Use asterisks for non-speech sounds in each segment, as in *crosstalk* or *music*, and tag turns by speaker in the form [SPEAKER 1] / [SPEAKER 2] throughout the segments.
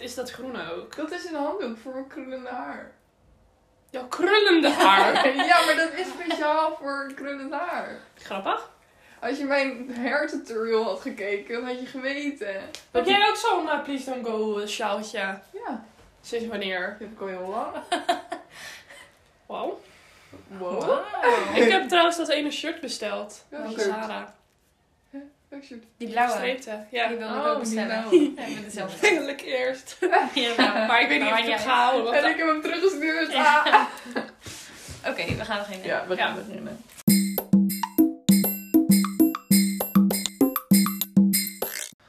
[SPEAKER 1] is dat groen ook?
[SPEAKER 2] Dat is een handdoek voor mijn krullende haar.
[SPEAKER 1] Jouw krullende haar.
[SPEAKER 2] *laughs* ja, maar dat is speciaal voor krullend haar.
[SPEAKER 1] Grappig.
[SPEAKER 2] Als je mijn hair tutorial had gekeken, dan had je geweten.
[SPEAKER 1] Heb jij ook zo'n eh, Please Don't Go eh, sjaaltje?
[SPEAKER 2] Ja,
[SPEAKER 1] Sinds wanneer?
[SPEAKER 2] dat heb ik al heel lang.
[SPEAKER 1] Wow.
[SPEAKER 2] Wow.
[SPEAKER 1] Ik heb trouwens dat ene shirt besteld.
[SPEAKER 2] Welk
[SPEAKER 1] Van
[SPEAKER 2] shirt?
[SPEAKER 1] Zara.
[SPEAKER 2] Leuk shirt.
[SPEAKER 3] Die blauwe.
[SPEAKER 1] Streepte. Ja.
[SPEAKER 3] Die
[SPEAKER 1] *laughs*
[SPEAKER 3] wilde ik
[SPEAKER 2] Oh,
[SPEAKER 3] ook
[SPEAKER 2] die
[SPEAKER 3] bestellen. *laughs*
[SPEAKER 2] blauwe.
[SPEAKER 3] Ja, met dezelfde.
[SPEAKER 1] Eindelijk eerst.
[SPEAKER 3] Ja, nou,
[SPEAKER 1] Maar ik weet niet of ik
[SPEAKER 3] maakt
[SPEAKER 1] het
[SPEAKER 3] niet
[SPEAKER 1] ga houden. want
[SPEAKER 2] En ik heb hem teruggestuurd.
[SPEAKER 3] Ja.
[SPEAKER 2] Ah.
[SPEAKER 3] uit. Oké, we gaan beginnen.
[SPEAKER 2] Ja, we gaan
[SPEAKER 1] Ja.
[SPEAKER 2] beginnen.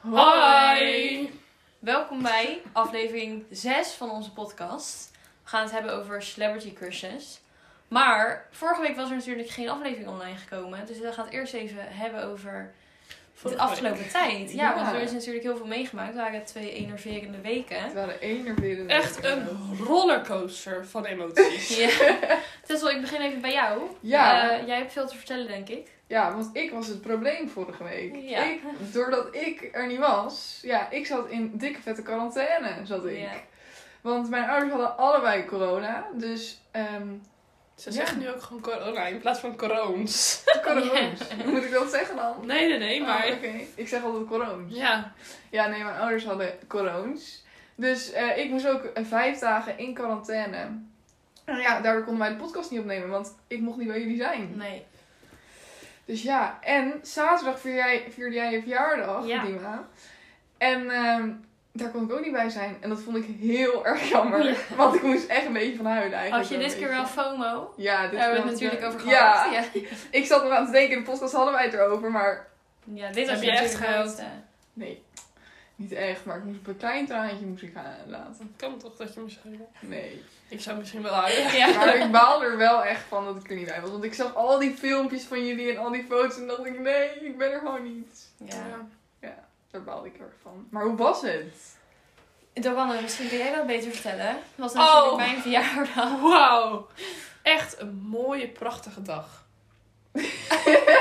[SPEAKER 1] Hoi!
[SPEAKER 3] Welkom bij aflevering 6 van onze podcast. We gaan het hebben over celebrity crushes. Maar vorige week was er natuurlijk geen aflevering online gekomen. Dus we gaan het eerst even hebben over de afgelopen tijd. Ja,
[SPEAKER 2] Ja.
[SPEAKER 3] want er is natuurlijk heel veel meegemaakt. Het waren twee enerverende weken.
[SPEAKER 2] Het waren enerverende
[SPEAKER 1] Echt
[SPEAKER 2] weken.
[SPEAKER 1] een rollercoaster van emoties.
[SPEAKER 3] Ja. *laughs* Tessel, ik begin even bij jou.
[SPEAKER 2] Ja.
[SPEAKER 3] Eh, jij hebt veel te vertellen, denk ik.
[SPEAKER 2] Ja, want ik was het probleem vorige week.
[SPEAKER 3] Ja.
[SPEAKER 2] Ik, doordat ik er niet was, ja, ik zat in dikke vette quarantaine, zat ik.
[SPEAKER 3] Ja.
[SPEAKER 2] Want mijn ouders hadden allebei corona, dus ehm
[SPEAKER 1] Ze zegt nu ook gewoon corona in plaats van coroons.
[SPEAKER 2] corona's. Hoe moet ik dat zeggen dan?
[SPEAKER 1] Nee, nee, nee, maar...
[SPEAKER 2] Oh, Oké, ik zeg altijd corona's.
[SPEAKER 1] Ja.
[SPEAKER 2] Ja, nee, mijn ouders hadden corona's. Dus eh, ik moest ook eh, vijf dagen in quarantaine. En ja, daardoor konden wij de podcast niet opnemen, want ik mocht niet bij jullie zijn.
[SPEAKER 3] Nee.
[SPEAKER 2] Dus ja, en zaterdag vier jij, vierde jij je verjaardag,
[SPEAKER 3] Ja.
[SPEAKER 2] Dima. En ehm, daar kon ik ook niet bij zijn. En dat vond ik heel erg jammer. Want ik moest echt een beetje van huilen eigenlijk.
[SPEAKER 3] Had je
[SPEAKER 2] wel
[SPEAKER 3] dit
[SPEAKER 2] een
[SPEAKER 3] keer wel
[SPEAKER 2] beetje.
[SPEAKER 3] FOMO?
[SPEAKER 2] Ja, dit
[SPEAKER 3] Daar hebben
[SPEAKER 2] keer
[SPEAKER 3] we
[SPEAKER 2] wel-
[SPEAKER 3] het natuurlijk over
[SPEAKER 2] Ja,
[SPEAKER 3] gehad. Ja,
[SPEAKER 2] ik zat nog aan te denken. In de podcast hadden wij het erover. Maar
[SPEAKER 3] ja dit
[SPEAKER 1] Heb
[SPEAKER 3] had
[SPEAKER 1] je echt
[SPEAKER 3] natuurlijk
[SPEAKER 1] gehuild?
[SPEAKER 3] nooit, eh,
[SPEAKER 2] nee, niet echt. Maar ik moest een klein traantje moest ik gaan laten.
[SPEAKER 1] Het kan toch dat je misschien...
[SPEAKER 2] Nee.
[SPEAKER 1] Ik zou misschien wel huilen.
[SPEAKER 2] Maar
[SPEAKER 3] Ja.
[SPEAKER 2] ik baal er wel echt van dat ik er niet bij was. Want ik zag al die filmpjes van jullie en al die foto's. En dacht ik, nee, ik ben er gewoon niet.
[SPEAKER 3] ja.
[SPEAKER 2] Daar baalde ik heel erg van. Maar hoe was het?
[SPEAKER 3] Doanne, misschien kun jij dat beter vertellen. Het was
[SPEAKER 1] Oh.
[SPEAKER 3] natuurlijk mijn verjaardag.
[SPEAKER 1] Wauw. Echt een mooie, prachtige dag.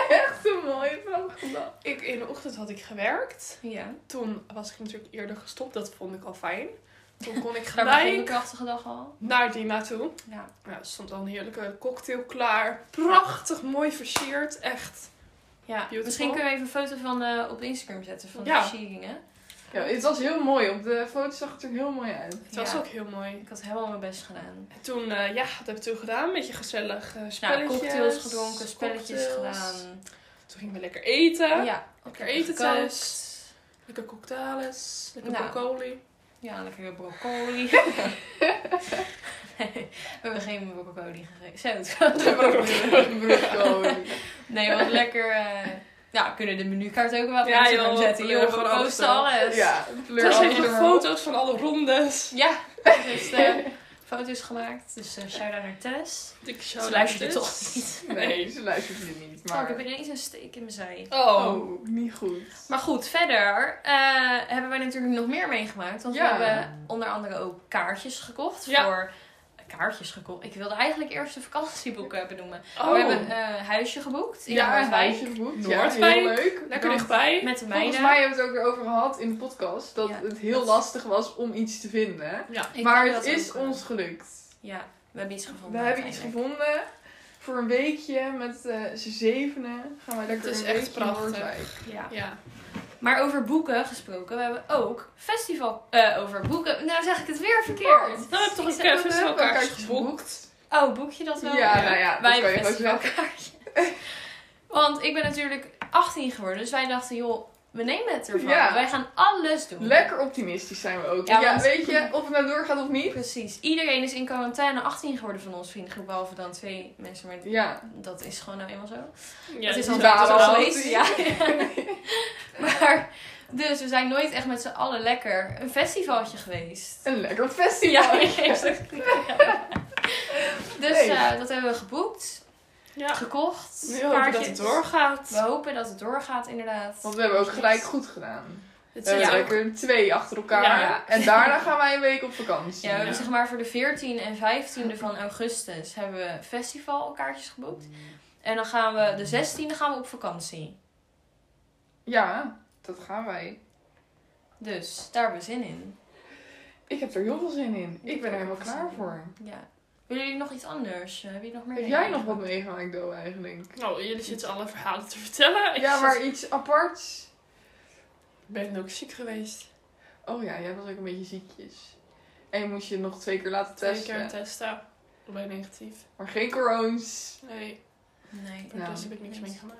[SPEAKER 2] Echt een mooie vraag gedaan.
[SPEAKER 1] Ik, in de ochtend had ik gewerkt.
[SPEAKER 3] Ja.
[SPEAKER 1] Toen was ik natuurlijk eerder gestopt. Dat vond ik al fijn. Toen kon ik
[SPEAKER 3] *laughs* Daar begon de
[SPEAKER 1] gelijk
[SPEAKER 3] krachtige dag al.
[SPEAKER 1] naar Dina toe.
[SPEAKER 3] Ja.
[SPEAKER 1] Nou, er stond al een heerlijke cocktail klaar. Prachtig mooi versierd. Echt.
[SPEAKER 3] ja.
[SPEAKER 1] Beautiful.
[SPEAKER 3] Misschien kunnen we even een foto van eh, op Instagram zetten van
[SPEAKER 1] Ja.
[SPEAKER 3] de versieringen.
[SPEAKER 2] Ja, het was heel mooi. Op de foto zag het er heel mooi uit.
[SPEAKER 3] *laughs*
[SPEAKER 1] Het was
[SPEAKER 3] Ja.
[SPEAKER 1] ook heel mooi.
[SPEAKER 3] Ik had helemaal mijn best gedaan.
[SPEAKER 1] En toen, eh, ja, dat heb ik toen gedaan. Een beetje gezellig eh
[SPEAKER 3] Nou,
[SPEAKER 1] spelletjes.
[SPEAKER 3] cocktails gedronken, spelletjes
[SPEAKER 1] cocktails.
[SPEAKER 3] gedaan.
[SPEAKER 1] Toen gingen we lekker eten.
[SPEAKER 3] Ja.
[SPEAKER 1] Lekker
[SPEAKER 3] Ik heb
[SPEAKER 1] eten
[SPEAKER 3] gekookt.
[SPEAKER 1] thuis. Lekker cocktails. Lekker
[SPEAKER 3] Nou.
[SPEAKER 1] broccoli.
[SPEAKER 3] Ja, lekker
[SPEAKER 1] *laughs*
[SPEAKER 3] broccoli. *laughs* Nee, we hebben geen broccoli gegeten. Zo, het
[SPEAKER 1] *laughs*
[SPEAKER 3] was-
[SPEAKER 2] Broccoli.
[SPEAKER 3] Nee, wat lekker. eh, ja, we kunnen de menukaart ook wel op
[SPEAKER 1] Ja,
[SPEAKER 3] Instagram
[SPEAKER 1] joh,
[SPEAKER 3] zetten.
[SPEAKER 1] we
[SPEAKER 3] Joh, we
[SPEAKER 1] gewoon
[SPEAKER 3] posten
[SPEAKER 1] alles.
[SPEAKER 3] alles.
[SPEAKER 2] Ja,
[SPEAKER 1] Toen
[SPEAKER 2] fleur
[SPEAKER 1] zijn
[SPEAKER 2] alles
[SPEAKER 1] er
[SPEAKER 2] erop.
[SPEAKER 1] foto's van alle
[SPEAKER 3] *laughs*
[SPEAKER 1] rondes.
[SPEAKER 3] Ja, ze heeft eh, foto's gemaakt. Dus eh shout-out naar Tess.
[SPEAKER 1] Ik zou dus-
[SPEAKER 3] Ze luistert
[SPEAKER 1] dit-
[SPEAKER 3] toch niet.
[SPEAKER 2] Nee, ze luistert hier niet.
[SPEAKER 3] Oh, ik
[SPEAKER 2] Maar...
[SPEAKER 3] heb ineens een steek in mijn zij.
[SPEAKER 1] Oh.
[SPEAKER 2] Oh, niet goed.
[SPEAKER 3] Maar goed, verder eh, hebben wij natuurlijk nog meer meegemaakt. Want
[SPEAKER 2] Ja.
[SPEAKER 3] we hebben onder andere ook kaartjes gekocht
[SPEAKER 1] Ja.
[SPEAKER 3] voor... Kaartjes gekocht. Ik wilde eigenlijk eerst de vakantieboeken benoemen.
[SPEAKER 1] Oh.
[SPEAKER 3] We hebben een eh, huisje geboekt in
[SPEAKER 2] Ja, een
[SPEAKER 3] Noordwijk.
[SPEAKER 2] huisje geboekt. Ja,
[SPEAKER 1] Noordwijk.
[SPEAKER 2] heel leuk.
[SPEAKER 1] Lekker
[SPEAKER 2] Want
[SPEAKER 1] dichtbij.
[SPEAKER 3] Met de
[SPEAKER 2] Volgens
[SPEAKER 3] meiden.
[SPEAKER 2] mij hebben we het ook erover gehad in de podcast. Dat
[SPEAKER 3] Ja,
[SPEAKER 2] het heel
[SPEAKER 3] dat-
[SPEAKER 2] lastig was om iets te vinden.
[SPEAKER 1] Ja.
[SPEAKER 3] Ik
[SPEAKER 2] maar
[SPEAKER 3] denk
[SPEAKER 2] het
[SPEAKER 3] dat
[SPEAKER 2] is
[SPEAKER 3] ook, eh,
[SPEAKER 2] ons gelukt.
[SPEAKER 3] Ja, we hebben iets
[SPEAKER 1] Oh,
[SPEAKER 3] gevonden.
[SPEAKER 2] We hebben iets
[SPEAKER 3] uiteindelijk.
[SPEAKER 2] gevonden. Voor een weekje met eh z'n zevenen gaan wij lekker
[SPEAKER 1] Het is
[SPEAKER 2] een
[SPEAKER 1] echt
[SPEAKER 2] weekje in
[SPEAKER 1] prachtig.
[SPEAKER 2] Noordwijk.
[SPEAKER 3] Ja.
[SPEAKER 1] Ja.
[SPEAKER 3] Maar over boeken gesproken, we hebben ook festival. eh, over boeken. Nou zeg ik het weer verkeerd.
[SPEAKER 1] Nou, we hebben toch
[SPEAKER 3] Ik
[SPEAKER 1] een
[SPEAKER 3] zeg ook,
[SPEAKER 1] keer
[SPEAKER 2] We
[SPEAKER 3] eh,
[SPEAKER 2] hebben
[SPEAKER 1] festivaalkaartjes
[SPEAKER 2] kaartjes
[SPEAKER 1] geboekt.
[SPEAKER 3] Oh, boek je dat wel?
[SPEAKER 2] Ja,
[SPEAKER 1] Ja.
[SPEAKER 2] nou ja, dat
[SPEAKER 3] wij
[SPEAKER 2] kan je
[SPEAKER 3] hebben
[SPEAKER 2] gewoon zeggen.
[SPEAKER 3] festivalkaartjes. *laughs* Want ik ben natuurlijk 18 geworden, dus wij dachten, joh, we nemen het ervan.
[SPEAKER 2] Ja.
[SPEAKER 3] Wij gaan alles doen.
[SPEAKER 2] Lekker optimistisch zijn we ook.
[SPEAKER 3] Ja,
[SPEAKER 2] Ja,
[SPEAKER 3] want-
[SPEAKER 2] weet je, of het nou doorgaat of niet.
[SPEAKER 3] Precies. Iedereen is in quarantaine 18 geworden van ons vriendengroep, behalve dan twee mensen. Maar
[SPEAKER 2] Ja.
[SPEAKER 3] dat is gewoon nou eenmaal zo.
[SPEAKER 1] Ja,
[SPEAKER 3] dat is
[SPEAKER 1] die
[SPEAKER 3] al
[SPEAKER 2] waren
[SPEAKER 3] dat is
[SPEAKER 2] al
[SPEAKER 3] al geweest.
[SPEAKER 2] drie.
[SPEAKER 3] Ja. *laughs* maar, dus we zijn nooit echt met z'n allen lekker een festivaltje geweest.
[SPEAKER 2] Een lekker
[SPEAKER 3] *laughs* Ja,
[SPEAKER 2] festival.
[SPEAKER 1] *laughs*
[SPEAKER 3] ik geef ze- Dus
[SPEAKER 2] Nee.
[SPEAKER 3] eh, dat hebben we geboekt,
[SPEAKER 1] Ja.
[SPEAKER 3] gekocht.
[SPEAKER 1] Nu hoop ik dat het
[SPEAKER 3] kaartjes. We
[SPEAKER 1] doorgaat.
[SPEAKER 3] hopen dat het doorgaat, inderdaad.
[SPEAKER 2] Want we hebben ook gelijk goed gedaan.
[SPEAKER 1] Het
[SPEAKER 2] We hebben
[SPEAKER 1] is ook-
[SPEAKER 2] lekker twee achter elkaar.
[SPEAKER 1] Ja.
[SPEAKER 2] En daarna gaan wij een week op vakantie.
[SPEAKER 3] Ja, we hebben
[SPEAKER 1] Ja. dus-
[SPEAKER 3] zeg maar voor de 14 en 15e van augustus hebben we festivalkaartjes geboekt. En dan gaan we de 16e gaan we op vakantie.
[SPEAKER 2] Ja, dat gaan wij.
[SPEAKER 3] Dus daar hebben we zin in.
[SPEAKER 2] heb er heel veel zin in. Ik ben er helemaal klaar voor.
[SPEAKER 3] Ja. Willen jullie nog iets anders? Hebben jullie nog meer
[SPEAKER 2] Heb
[SPEAKER 3] dingen?
[SPEAKER 2] jij nog wat meegemaakt, Do, eigenlijk?
[SPEAKER 1] Nou, jullie zitten alle verhalen te vertellen. Ik
[SPEAKER 2] Ja, maar iets aparts.
[SPEAKER 1] ben ook ziek geweest.
[SPEAKER 2] Oh ja, jij was ook een beetje ziekjes. En je moest je nog twee keer laten
[SPEAKER 1] Twee
[SPEAKER 2] testen.
[SPEAKER 1] keer testen. Ik ben negatief.
[SPEAKER 2] maar geen corones.
[SPEAKER 1] Nee,
[SPEAKER 3] Nee.
[SPEAKER 1] voor
[SPEAKER 2] Nou,
[SPEAKER 1] de rest heb ik niks meegemaakt.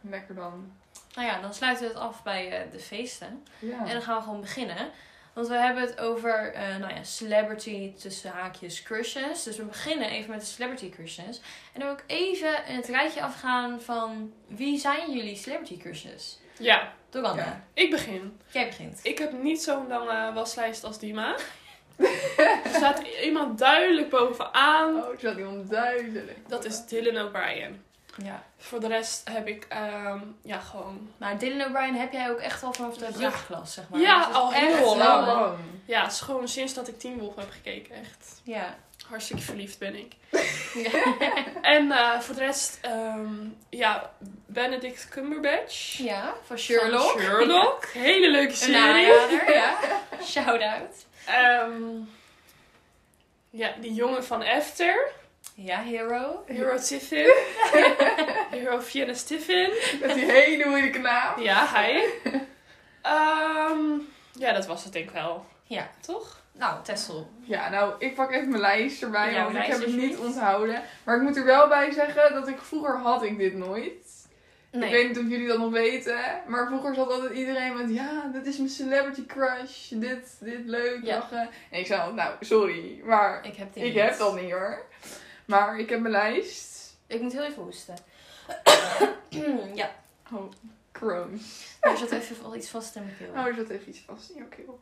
[SPEAKER 2] Lekker dan.
[SPEAKER 3] Nou ja, dan sluiten we het af bij eh, de feesten.
[SPEAKER 2] Ja.
[SPEAKER 3] En dan gaan we gewoon beginnen. Want we hebben het over eh, nou ja, celebrity tussen haakjes crushes. Dus we beginnen even met de celebrity crushes. En dan wil ik even in het rijtje afgaan van wie zijn jullie celebrity crushes?
[SPEAKER 1] Ja,
[SPEAKER 3] Door Anne.
[SPEAKER 2] Ja.
[SPEAKER 1] ik begin.
[SPEAKER 3] Jij begint.
[SPEAKER 1] Ik heb niet zo'n lange waslijst als *laughs* Dima. er staat iemand duidelijk bovenaan.
[SPEAKER 2] Oh, er zat iemand duidelijk.
[SPEAKER 1] Dat is Dylan O'Brien.
[SPEAKER 3] Ja.
[SPEAKER 1] Voor de rest heb ik, ehm, ja, gewoon...
[SPEAKER 3] Maar Nou, Dylan O'Brien heb jij ook echt al vanaf de
[SPEAKER 1] Ja.
[SPEAKER 3] jeugdklas, zeg maar.
[SPEAKER 1] Ja,
[SPEAKER 3] Dus het is
[SPEAKER 1] al
[SPEAKER 3] echt
[SPEAKER 1] heel
[SPEAKER 3] wel
[SPEAKER 1] lang.
[SPEAKER 3] een-
[SPEAKER 2] Gewoon.
[SPEAKER 1] Ja, het is gewoon sinds dat ik Teen Wolf heb gekeken, echt.
[SPEAKER 3] Ja.
[SPEAKER 1] Hartstikke verliefd ben
[SPEAKER 2] *laughs*
[SPEAKER 1] ik. *laughs*
[SPEAKER 3] Ja.
[SPEAKER 1] En eh, voor de rest, ehm, ja, Benedict Cumberbatch.
[SPEAKER 3] ja, van Sherlock.
[SPEAKER 1] Van
[SPEAKER 3] *laughs*
[SPEAKER 1] Sherlock. Hele leuke
[SPEAKER 3] Een
[SPEAKER 1] serie.
[SPEAKER 3] nadader, ja. Shout-out.
[SPEAKER 1] Ehm, ja, die jongen van After.
[SPEAKER 3] Ja, hero.
[SPEAKER 1] Hero
[SPEAKER 2] *laughs*
[SPEAKER 1] Tiffin. Hero Vienna Tiffin.
[SPEAKER 2] Met die hele moeilijke naam.
[SPEAKER 1] Ja, hij. Ehm, ja, dat was het denk ik wel.
[SPEAKER 3] Ja.
[SPEAKER 1] Toch?
[SPEAKER 3] Nou, Tessel.
[SPEAKER 2] Ja, nou, ik pak even mijn lijst erbij,
[SPEAKER 3] Ja,
[SPEAKER 2] want ik
[SPEAKER 3] lijst
[SPEAKER 2] heb het niet
[SPEAKER 3] alsjeblieft.
[SPEAKER 2] onthouden. Maar ik moet er wel bij zeggen dat ik vroeger had ik dit nooit.
[SPEAKER 3] Nee.
[SPEAKER 2] Ik weet niet of jullie dat nog weten, maar vroeger zat altijd iedereen met, ja, dit is mijn celebrity crush, dit, dit leuk,
[SPEAKER 3] Ja.
[SPEAKER 2] lachen. En ik zei altijd, nou, sorry, maar
[SPEAKER 3] Ik heb die
[SPEAKER 2] ik
[SPEAKER 3] niet.
[SPEAKER 2] heb dat niet hoor. Maar ik heb mijn lijst.
[SPEAKER 3] Ik moet heel
[SPEAKER 1] *coughs*
[SPEAKER 3] even hoesten. ja,
[SPEAKER 2] Oh, Chrome.
[SPEAKER 3] er zat even wel iets vast in mijn
[SPEAKER 1] Oh,
[SPEAKER 3] keel.
[SPEAKER 2] Nou, er zat even iets vast in jouw keel.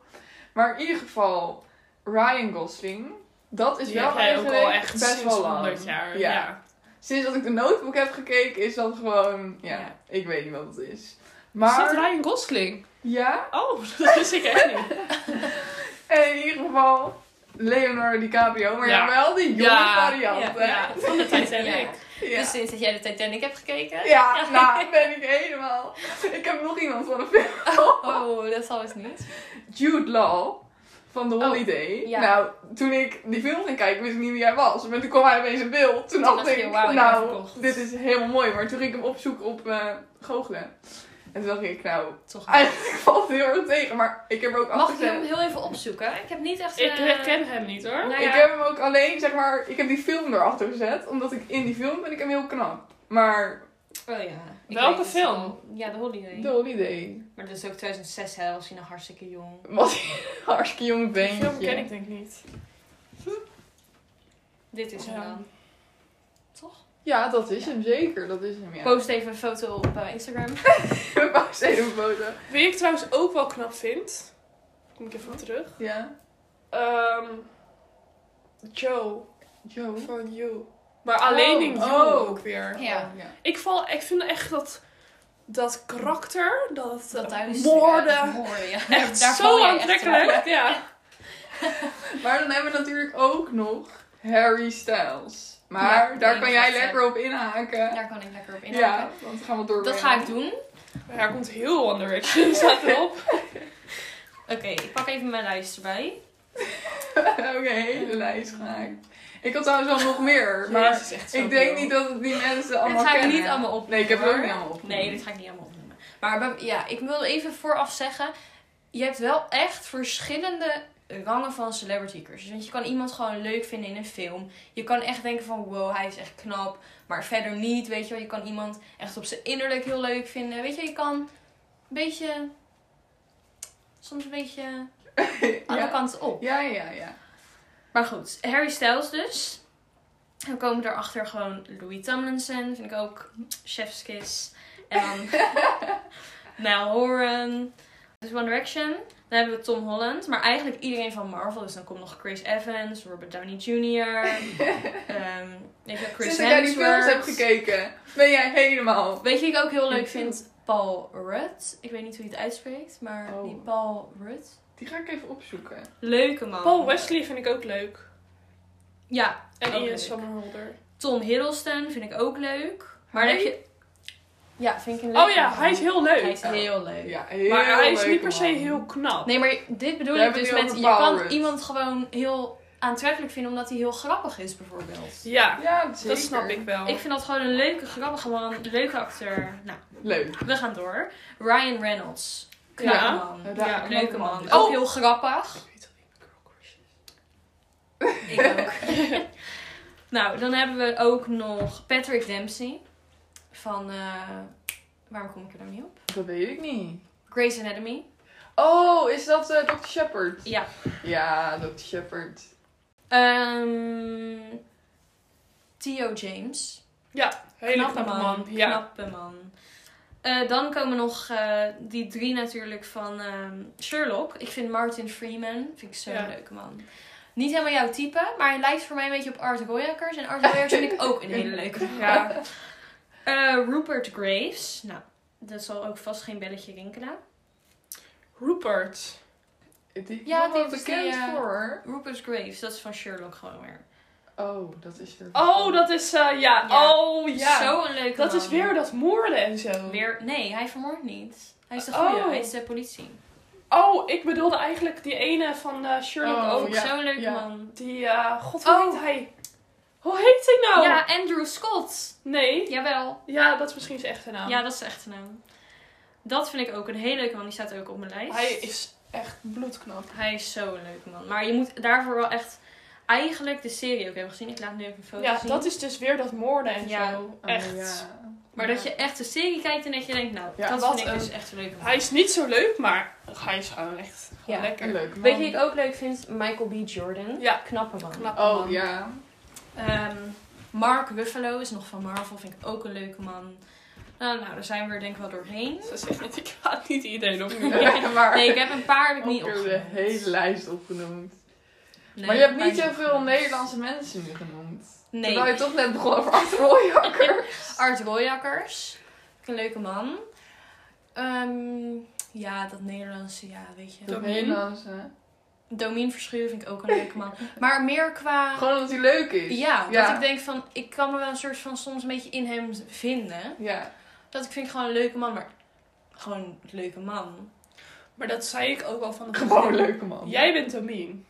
[SPEAKER 2] Maar in ieder geval, Ryan Gosling. Dat is
[SPEAKER 1] Die
[SPEAKER 2] wel
[SPEAKER 1] heb jij ook
[SPEAKER 2] eigenlijk
[SPEAKER 1] al echt
[SPEAKER 2] best
[SPEAKER 1] sinds
[SPEAKER 2] wel lang.
[SPEAKER 1] 100 jaar.
[SPEAKER 2] Ja.
[SPEAKER 1] ja.
[SPEAKER 2] Sinds dat ik de notebook heb gekeken, is dat gewoon. Ja,
[SPEAKER 3] Ja.
[SPEAKER 2] ik weet niet wat het is.
[SPEAKER 1] Is dat
[SPEAKER 2] Maar.
[SPEAKER 1] Ryan Gosling?
[SPEAKER 2] Ja,
[SPEAKER 1] Oh, *laughs* dat wist ik echt
[SPEAKER 2] *laughs*
[SPEAKER 1] niet.
[SPEAKER 2] en in ieder geval. Leonardo DiCaprio, maar
[SPEAKER 1] Ja.
[SPEAKER 2] ja. wel die jonge
[SPEAKER 1] Ja,
[SPEAKER 2] variant, hè?
[SPEAKER 1] Ja, van de Titanic.
[SPEAKER 2] Ja.
[SPEAKER 3] Dus sinds dat jij de Titanic hebt gekeken?
[SPEAKER 2] Ja, nou, ben ik helemaal. Ik heb nog iemand van een film.
[SPEAKER 3] Oh, dat zal eens niet.
[SPEAKER 2] Jude Law van The Holiday.
[SPEAKER 3] Oh, ja.
[SPEAKER 2] Nou, toen ik die film ging kijken, wist ik niet wie hij was. Maar toen kwam hij opeens in beeld. Toen dacht
[SPEAKER 3] dacht je,
[SPEAKER 2] ik,
[SPEAKER 3] wauw, ik ben
[SPEAKER 2] nou,
[SPEAKER 3] verkocht.
[SPEAKER 2] dit is helemaal mooi. Maar toen ging ik hem opzoeken op eh goochelen. En toen dacht ik, nou,
[SPEAKER 3] Toch niet.
[SPEAKER 2] eigenlijk *laughs* valt het heel erg tegen. Maar ik heb er ook
[SPEAKER 3] Ah. Mag ik hem
[SPEAKER 2] afgezet.
[SPEAKER 3] heel even opzoeken? Ik heb niet echt...
[SPEAKER 1] Ik
[SPEAKER 3] eh,
[SPEAKER 1] herken hem niet hoor.
[SPEAKER 3] nou
[SPEAKER 2] Ik
[SPEAKER 3] ja,
[SPEAKER 2] heb hem ook alleen, zeg maar, ik heb die film erachter gezet. Omdat ik in die film ben ik hem heel knap. Maar
[SPEAKER 3] Oh ja. Ik
[SPEAKER 1] Welke
[SPEAKER 3] weet het
[SPEAKER 1] film?
[SPEAKER 3] wel. Ja, The Holiday.
[SPEAKER 2] The Holiday
[SPEAKER 3] Maar dat is ook 2006, hè. was hij nog hartstikke jong.
[SPEAKER 2] was *laughs* een hartstikke jong
[SPEAKER 1] Die film ken
[SPEAKER 2] beentje.
[SPEAKER 1] ik denk ik niet.
[SPEAKER 3] Dit is hem
[SPEAKER 1] Ja.
[SPEAKER 3] dan. Toch?
[SPEAKER 2] Ja, dat is hem zeker. Dat is hem, ja.
[SPEAKER 3] Post even een foto op
[SPEAKER 1] *laughs*
[SPEAKER 3] eh, Instagram. *laughs*
[SPEAKER 2] We pauze even een foto.
[SPEAKER 1] Wie ik trouwens ook wel knap vind. Kom ik even
[SPEAKER 2] Hm?
[SPEAKER 1] op terug.
[SPEAKER 2] Ja.
[SPEAKER 1] Ehm, Joe
[SPEAKER 2] Joe.
[SPEAKER 1] van You. Maar alleen
[SPEAKER 2] Hm? Oh,
[SPEAKER 1] in You
[SPEAKER 2] oh.
[SPEAKER 1] ook weer.
[SPEAKER 3] Ja.
[SPEAKER 2] ja.
[SPEAKER 1] Ik, val, ik vind echt dat, dat karakter, dat,
[SPEAKER 3] Dat
[SPEAKER 1] eh,
[SPEAKER 3] duizend.
[SPEAKER 1] woorden,
[SPEAKER 3] Woorden, ja.
[SPEAKER 1] echt
[SPEAKER 3] Daar val
[SPEAKER 1] zo
[SPEAKER 3] jij echt
[SPEAKER 1] aantrekkelijk. Ja.
[SPEAKER 2] Maar dan hebben we natuurlijk ook nog Harry Styles. Maar
[SPEAKER 3] Ja,
[SPEAKER 2] daar
[SPEAKER 3] die
[SPEAKER 2] kan
[SPEAKER 3] is
[SPEAKER 2] jij
[SPEAKER 3] echt,
[SPEAKER 2] lekker op inhaken.
[SPEAKER 3] Daar kan ik lekker op
[SPEAKER 2] Ja,
[SPEAKER 3] inhaken.
[SPEAKER 2] want we gaan we door.
[SPEAKER 3] Dat
[SPEAKER 2] bij
[SPEAKER 3] ga
[SPEAKER 2] jou.
[SPEAKER 3] ik doen.
[SPEAKER 1] Maar Daar komt heel One Direction *laughs* staat erop.
[SPEAKER 3] Oké, ik pak even mijn lijst erbij.
[SPEAKER 2] *laughs* Oké, hele lijst gehaakt. Ik had trouwens wel nog meer, maar
[SPEAKER 1] Jezus, echt zo
[SPEAKER 2] ik denk
[SPEAKER 1] veel.
[SPEAKER 2] niet dat het die mensen allemaal
[SPEAKER 3] dit ga ik
[SPEAKER 2] kennen.
[SPEAKER 3] niet allemaal opnoemen.
[SPEAKER 2] Nee, ik heb het ook
[SPEAKER 3] hoor.
[SPEAKER 2] niet allemaal opgenomen.
[SPEAKER 3] Nee, dit ga ik niet allemaal opnoemen. Maar bij- ja, ik wil even vooraf zeggen. Je hebt wel echt verschillende rangen van celebrity cursus. Want je kan iemand gewoon leuk vinden in een film. Je kan echt denken van wow, hij is echt knap. Maar verder niet, weet je wel. Je kan iemand echt op zijn innerlijk heel leuk vinden. Weet je, je kan een beetje... Soms een beetje alle
[SPEAKER 2] *laughs* ja.
[SPEAKER 3] kanten op.
[SPEAKER 2] ja, ja, ja.
[SPEAKER 3] Maar goed, Harry Styles dus. We komen erachter gewoon Louis Tomlinson, vind ik ook. Chef's Kiss. En
[SPEAKER 2] *laughs*
[SPEAKER 3] dan Niall Horan. Dus One Direction. Dan hebben we Tom Holland. Maar eigenlijk iedereen van Marvel. Dus dan komt nog Chris Evans, Robert Downey
[SPEAKER 2] *laughs*
[SPEAKER 3] Jr. ehm weet je, wel, Chris
[SPEAKER 2] Sinds dat jij die films hebt
[SPEAKER 3] Hemsworth.
[SPEAKER 2] gekeken, ben jij helemaal...
[SPEAKER 3] Weet je, wie ik ook heel leuk
[SPEAKER 2] Ik vind-
[SPEAKER 3] vind Paul Rudd. Ik weet niet hoe je het uitspreekt, maar
[SPEAKER 2] Oh.
[SPEAKER 3] die Paul Rudd.
[SPEAKER 2] Die ga ik even opzoeken.
[SPEAKER 3] Leuke man.
[SPEAKER 1] Paul Wesley vind ik ook leuk.
[SPEAKER 3] Ja.
[SPEAKER 1] En
[SPEAKER 3] ook
[SPEAKER 1] Ian
[SPEAKER 3] leuk.
[SPEAKER 1] Somerhalder.
[SPEAKER 3] Tom Hiddleston vind ik ook leuk. Maar dan heb je Ja, vind ik een leuk.
[SPEAKER 1] Oh ja, hij is heel leuk.
[SPEAKER 3] Hij is heel leuk.
[SPEAKER 2] Ja, heel
[SPEAKER 1] maar hij is
[SPEAKER 2] leuk,
[SPEAKER 1] niet per se
[SPEAKER 2] man.
[SPEAKER 1] heel knap.
[SPEAKER 3] Nee, maar dit bedoel
[SPEAKER 2] Daar
[SPEAKER 3] ik
[SPEAKER 2] hebben
[SPEAKER 3] dus
[SPEAKER 2] we het
[SPEAKER 3] met... Je
[SPEAKER 2] over Paul
[SPEAKER 3] kan
[SPEAKER 2] Rudd.
[SPEAKER 3] iemand gewoon heel aantrekkelijk vinden omdat hij heel grappig is, bijvoorbeeld.
[SPEAKER 1] Ja,
[SPEAKER 2] Ja, zeker.
[SPEAKER 1] dat snap ik wel.
[SPEAKER 3] Ik vind dat gewoon een leuke, grappige man. een Leuke acteur. Nou,
[SPEAKER 2] Leuk.
[SPEAKER 3] we gaan door. Ryan Reynolds. Knappe
[SPEAKER 1] Ja.
[SPEAKER 3] man.
[SPEAKER 2] Ja,
[SPEAKER 1] Ja,
[SPEAKER 3] Leuke man.
[SPEAKER 2] Oh!
[SPEAKER 3] Ook heel grappig. Ik ook.
[SPEAKER 1] *laughs*
[SPEAKER 3] *laughs* nou, dan hebben we ook nog Patrick Dempsey. Van... eh, waarom kom ik er nou niet op?
[SPEAKER 2] Dat weet ik niet.
[SPEAKER 3] Grey's Anatomy.
[SPEAKER 2] Oh, is dat eh, Dr. Shepard?
[SPEAKER 3] Ja.
[SPEAKER 2] Ja, Dr. Shepard.
[SPEAKER 3] Ehm Theo James.
[SPEAKER 1] Hele knappe man. Ja.
[SPEAKER 3] Knappe man. Eh, dan komen nog eh, die drie natuurlijk van ehm, Sherlock. Ik vind Martin Freeman vind ik zo'n
[SPEAKER 1] Ja.
[SPEAKER 3] leuke man. Niet helemaal jouw type, maar hij lijkt voor mij een beetje op Art Goyakers. En Art Goyakers vind ik ook een hele leuke man.
[SPEAKER 1] Ja.
[SPEAKER 3] *laughs* Eh, Rupert Graves. Nou, dat zal ook vast geen belletje rinkelen.
[SPEAKER 1] Rupert.
[SPEAKER 2] Die
[SPEAKER 3] Ja,
[SPEAKER 2] ja,
[SPEAKER 3] die
[SPEAKER 2] die
[SPEAKER 3] is
[SPEAKER 2] bekend
[SPEAKER 3] die, eh,
[SPEAKER 2] voor. hoor.
[SPEAKER 3] Rupert Graves, dat is van Sherlock gewoon weer.
[SPEAKER 2] Oh, dat is er.
[SPEAKER 1] Oh, dat is... eh, ja.
[SPEAKER 3] Ja.
[SPEAKER 1] Oh, ja.
[SPEAKER 3] Zo'n leuke
[SPEAKER 1] dat
[SPEAKER 3] man.
[SPEAKER 1] is weer dat moorden en zo.
[SPEAKER 3] Weer, nee, hij vermoordt niet. Hij is de
[SPEAKER 1] Oh.
[SPEAKER 3] goeie, hij is de politie.
[SPEAKER 1] Oh, ik bedoelde eigenlijk die ene van eh, Sherlock
[SPEAKER 2] Oh,
[SPEAKER 1] ook.
[SPEAKER 2] ja.
[SPEAKER 3] Zo'n leuke
[SPEAKER 2] ja.
[SPEAKER 3] man.
[SPEAKER 1] Die, eh god, hoe
[SPEAKER 3] Oh.
[SPEAKER 1] heet hij? Hoe heet hij nou?
[SPEAKER 3] Ja, Andrew Scott.
[SPEAKER 1] Nee.
[SPEAKER 3] Jawel.
[SPEAKER 1] Ja, dat is misschien zijn echte naam.
[SPEAKER 3] Ja, dat is echt een naam. Dat vind ik ook een hele leuke man. Die staat ook op mijn lijst.
[SPEAKER 1] Hij is echt bloedknap.
[SPEAKER 3] Hij is zo'n leuke man. Maar je moet daarvoor wel echt eigenlijk de serie ook hebben gezien. Ik laat nu even een foto
[SPEAKER 1] Ja,
[SPEAKER 3] zien.
[SPEAKER 1] dat is dus weer dat moorden en
[SPEAKER 3] Ja.
[SPEAKER 1] zo.
[SPEAKER 2] Oh,
[SPEAKER 1] Echt.
[SPEAKER 2] ja.
[SPEAKER 3] Maar dat je echt de serie kijkt en dat je denkt, nou,
[SPEAKER 2] Ja,
[SPEAKER 3] dat
[SPEAKER 1] wat
[SPEAKER 3] vind ik
[SPEAKER 1] een-
[SPEAKER 3] dus echt een leuke man.
[SPEAKER 1] Hij is niet zo leuk, maar hij is gewoon echt gewoon
[SPEAKER 3] Ja.
[SPEAKER 1] lekker.
[SPEAKER 2] Een leuk man.
[SPEAKER 3] Weet je wie ik ook leuk vind? Michael B. Jordan.
[SPEAKER 1] Ja.
[SPEAKER 3] Knappe man.
[SPEAKER 1] Knap.
[SPEAKER 2] Oh,
[SPEAKER 1] man.
[SPEAKER 2] ja.
[SPEAKER 3] Ehm, Mark Ruffalo is nog van Marvel. Vind ik ook een leuke man. Nou, nou, daar zijn we er denk ik wel doorheen.
[SPEAKER 1] Ze zegt net, *laughs* ik haat niet iedereen op.
[SPEAKER 3] Ja.
[SPEAKER 2] maar
[SPEAKER 3] Nee, ik heb een paar heb ik
[SPEAKER 2] ook
[SPEAKER 3] niet
[SPEAKER 2] weer de
[SPEAKER 3] opgenoemd.
[SPEAKER 2] hele lijst opgenoemd.
[SPEAKER 3] Nee,
[SPEAKER 2] maar je hebt
[SPEAKER 3] een
[SPEAKER 2] niet
[SPEAKER 3] paar
[SPEAKER 2] zoveel
[SPEAKER 3] opgenoemd.
[SPEAKER 2] Nederlandse mensen nu genoemd.
[SPEAKER 3] Nee.
[SPEAKER 2] Terwijl je toch net begon over Art Royakker.
[SPEAKER 3] *laughs* Art Royakkers. Vind ik Een leuke man. Ehm, ja, dat Nederlandse, ja, weet je.
[SPEAKER 2] Dat
[SPEAKER 1] Domien.
[SPEAKER 2] Nederlandse.
[SPEAKER 3] Domien Verschuur vind ik ook een
[SPEAKER 2] *laughs*
[SPEAKER 3] leuke man. Maar meer qua...
[SPEAKER 2] Gewoon omdat hij leuk is.
[SPEAKER 3] Ja, dat
[SPEAKER 2] Ja.
[SPEAKER 3] ik denk van... Ik kan me wel een soort van soms een beetje in hem vinden.
[SPEAKER 2] Ja.
[SPEAKER 3] Dat ik vind gewoon een leuke man, maar... Gewoon een leuke man.
[SPEAKER 1] Maar dat zei ik ook al van het
[SPEAKER 2] Gewoon een
[SPEAKER 1] begin.
[SPEAKER 2] leuke man.
[SPEAKER 1] Jij
[SPEAKER 2] *laughs*
[SPEAKER 1] bent Tomien.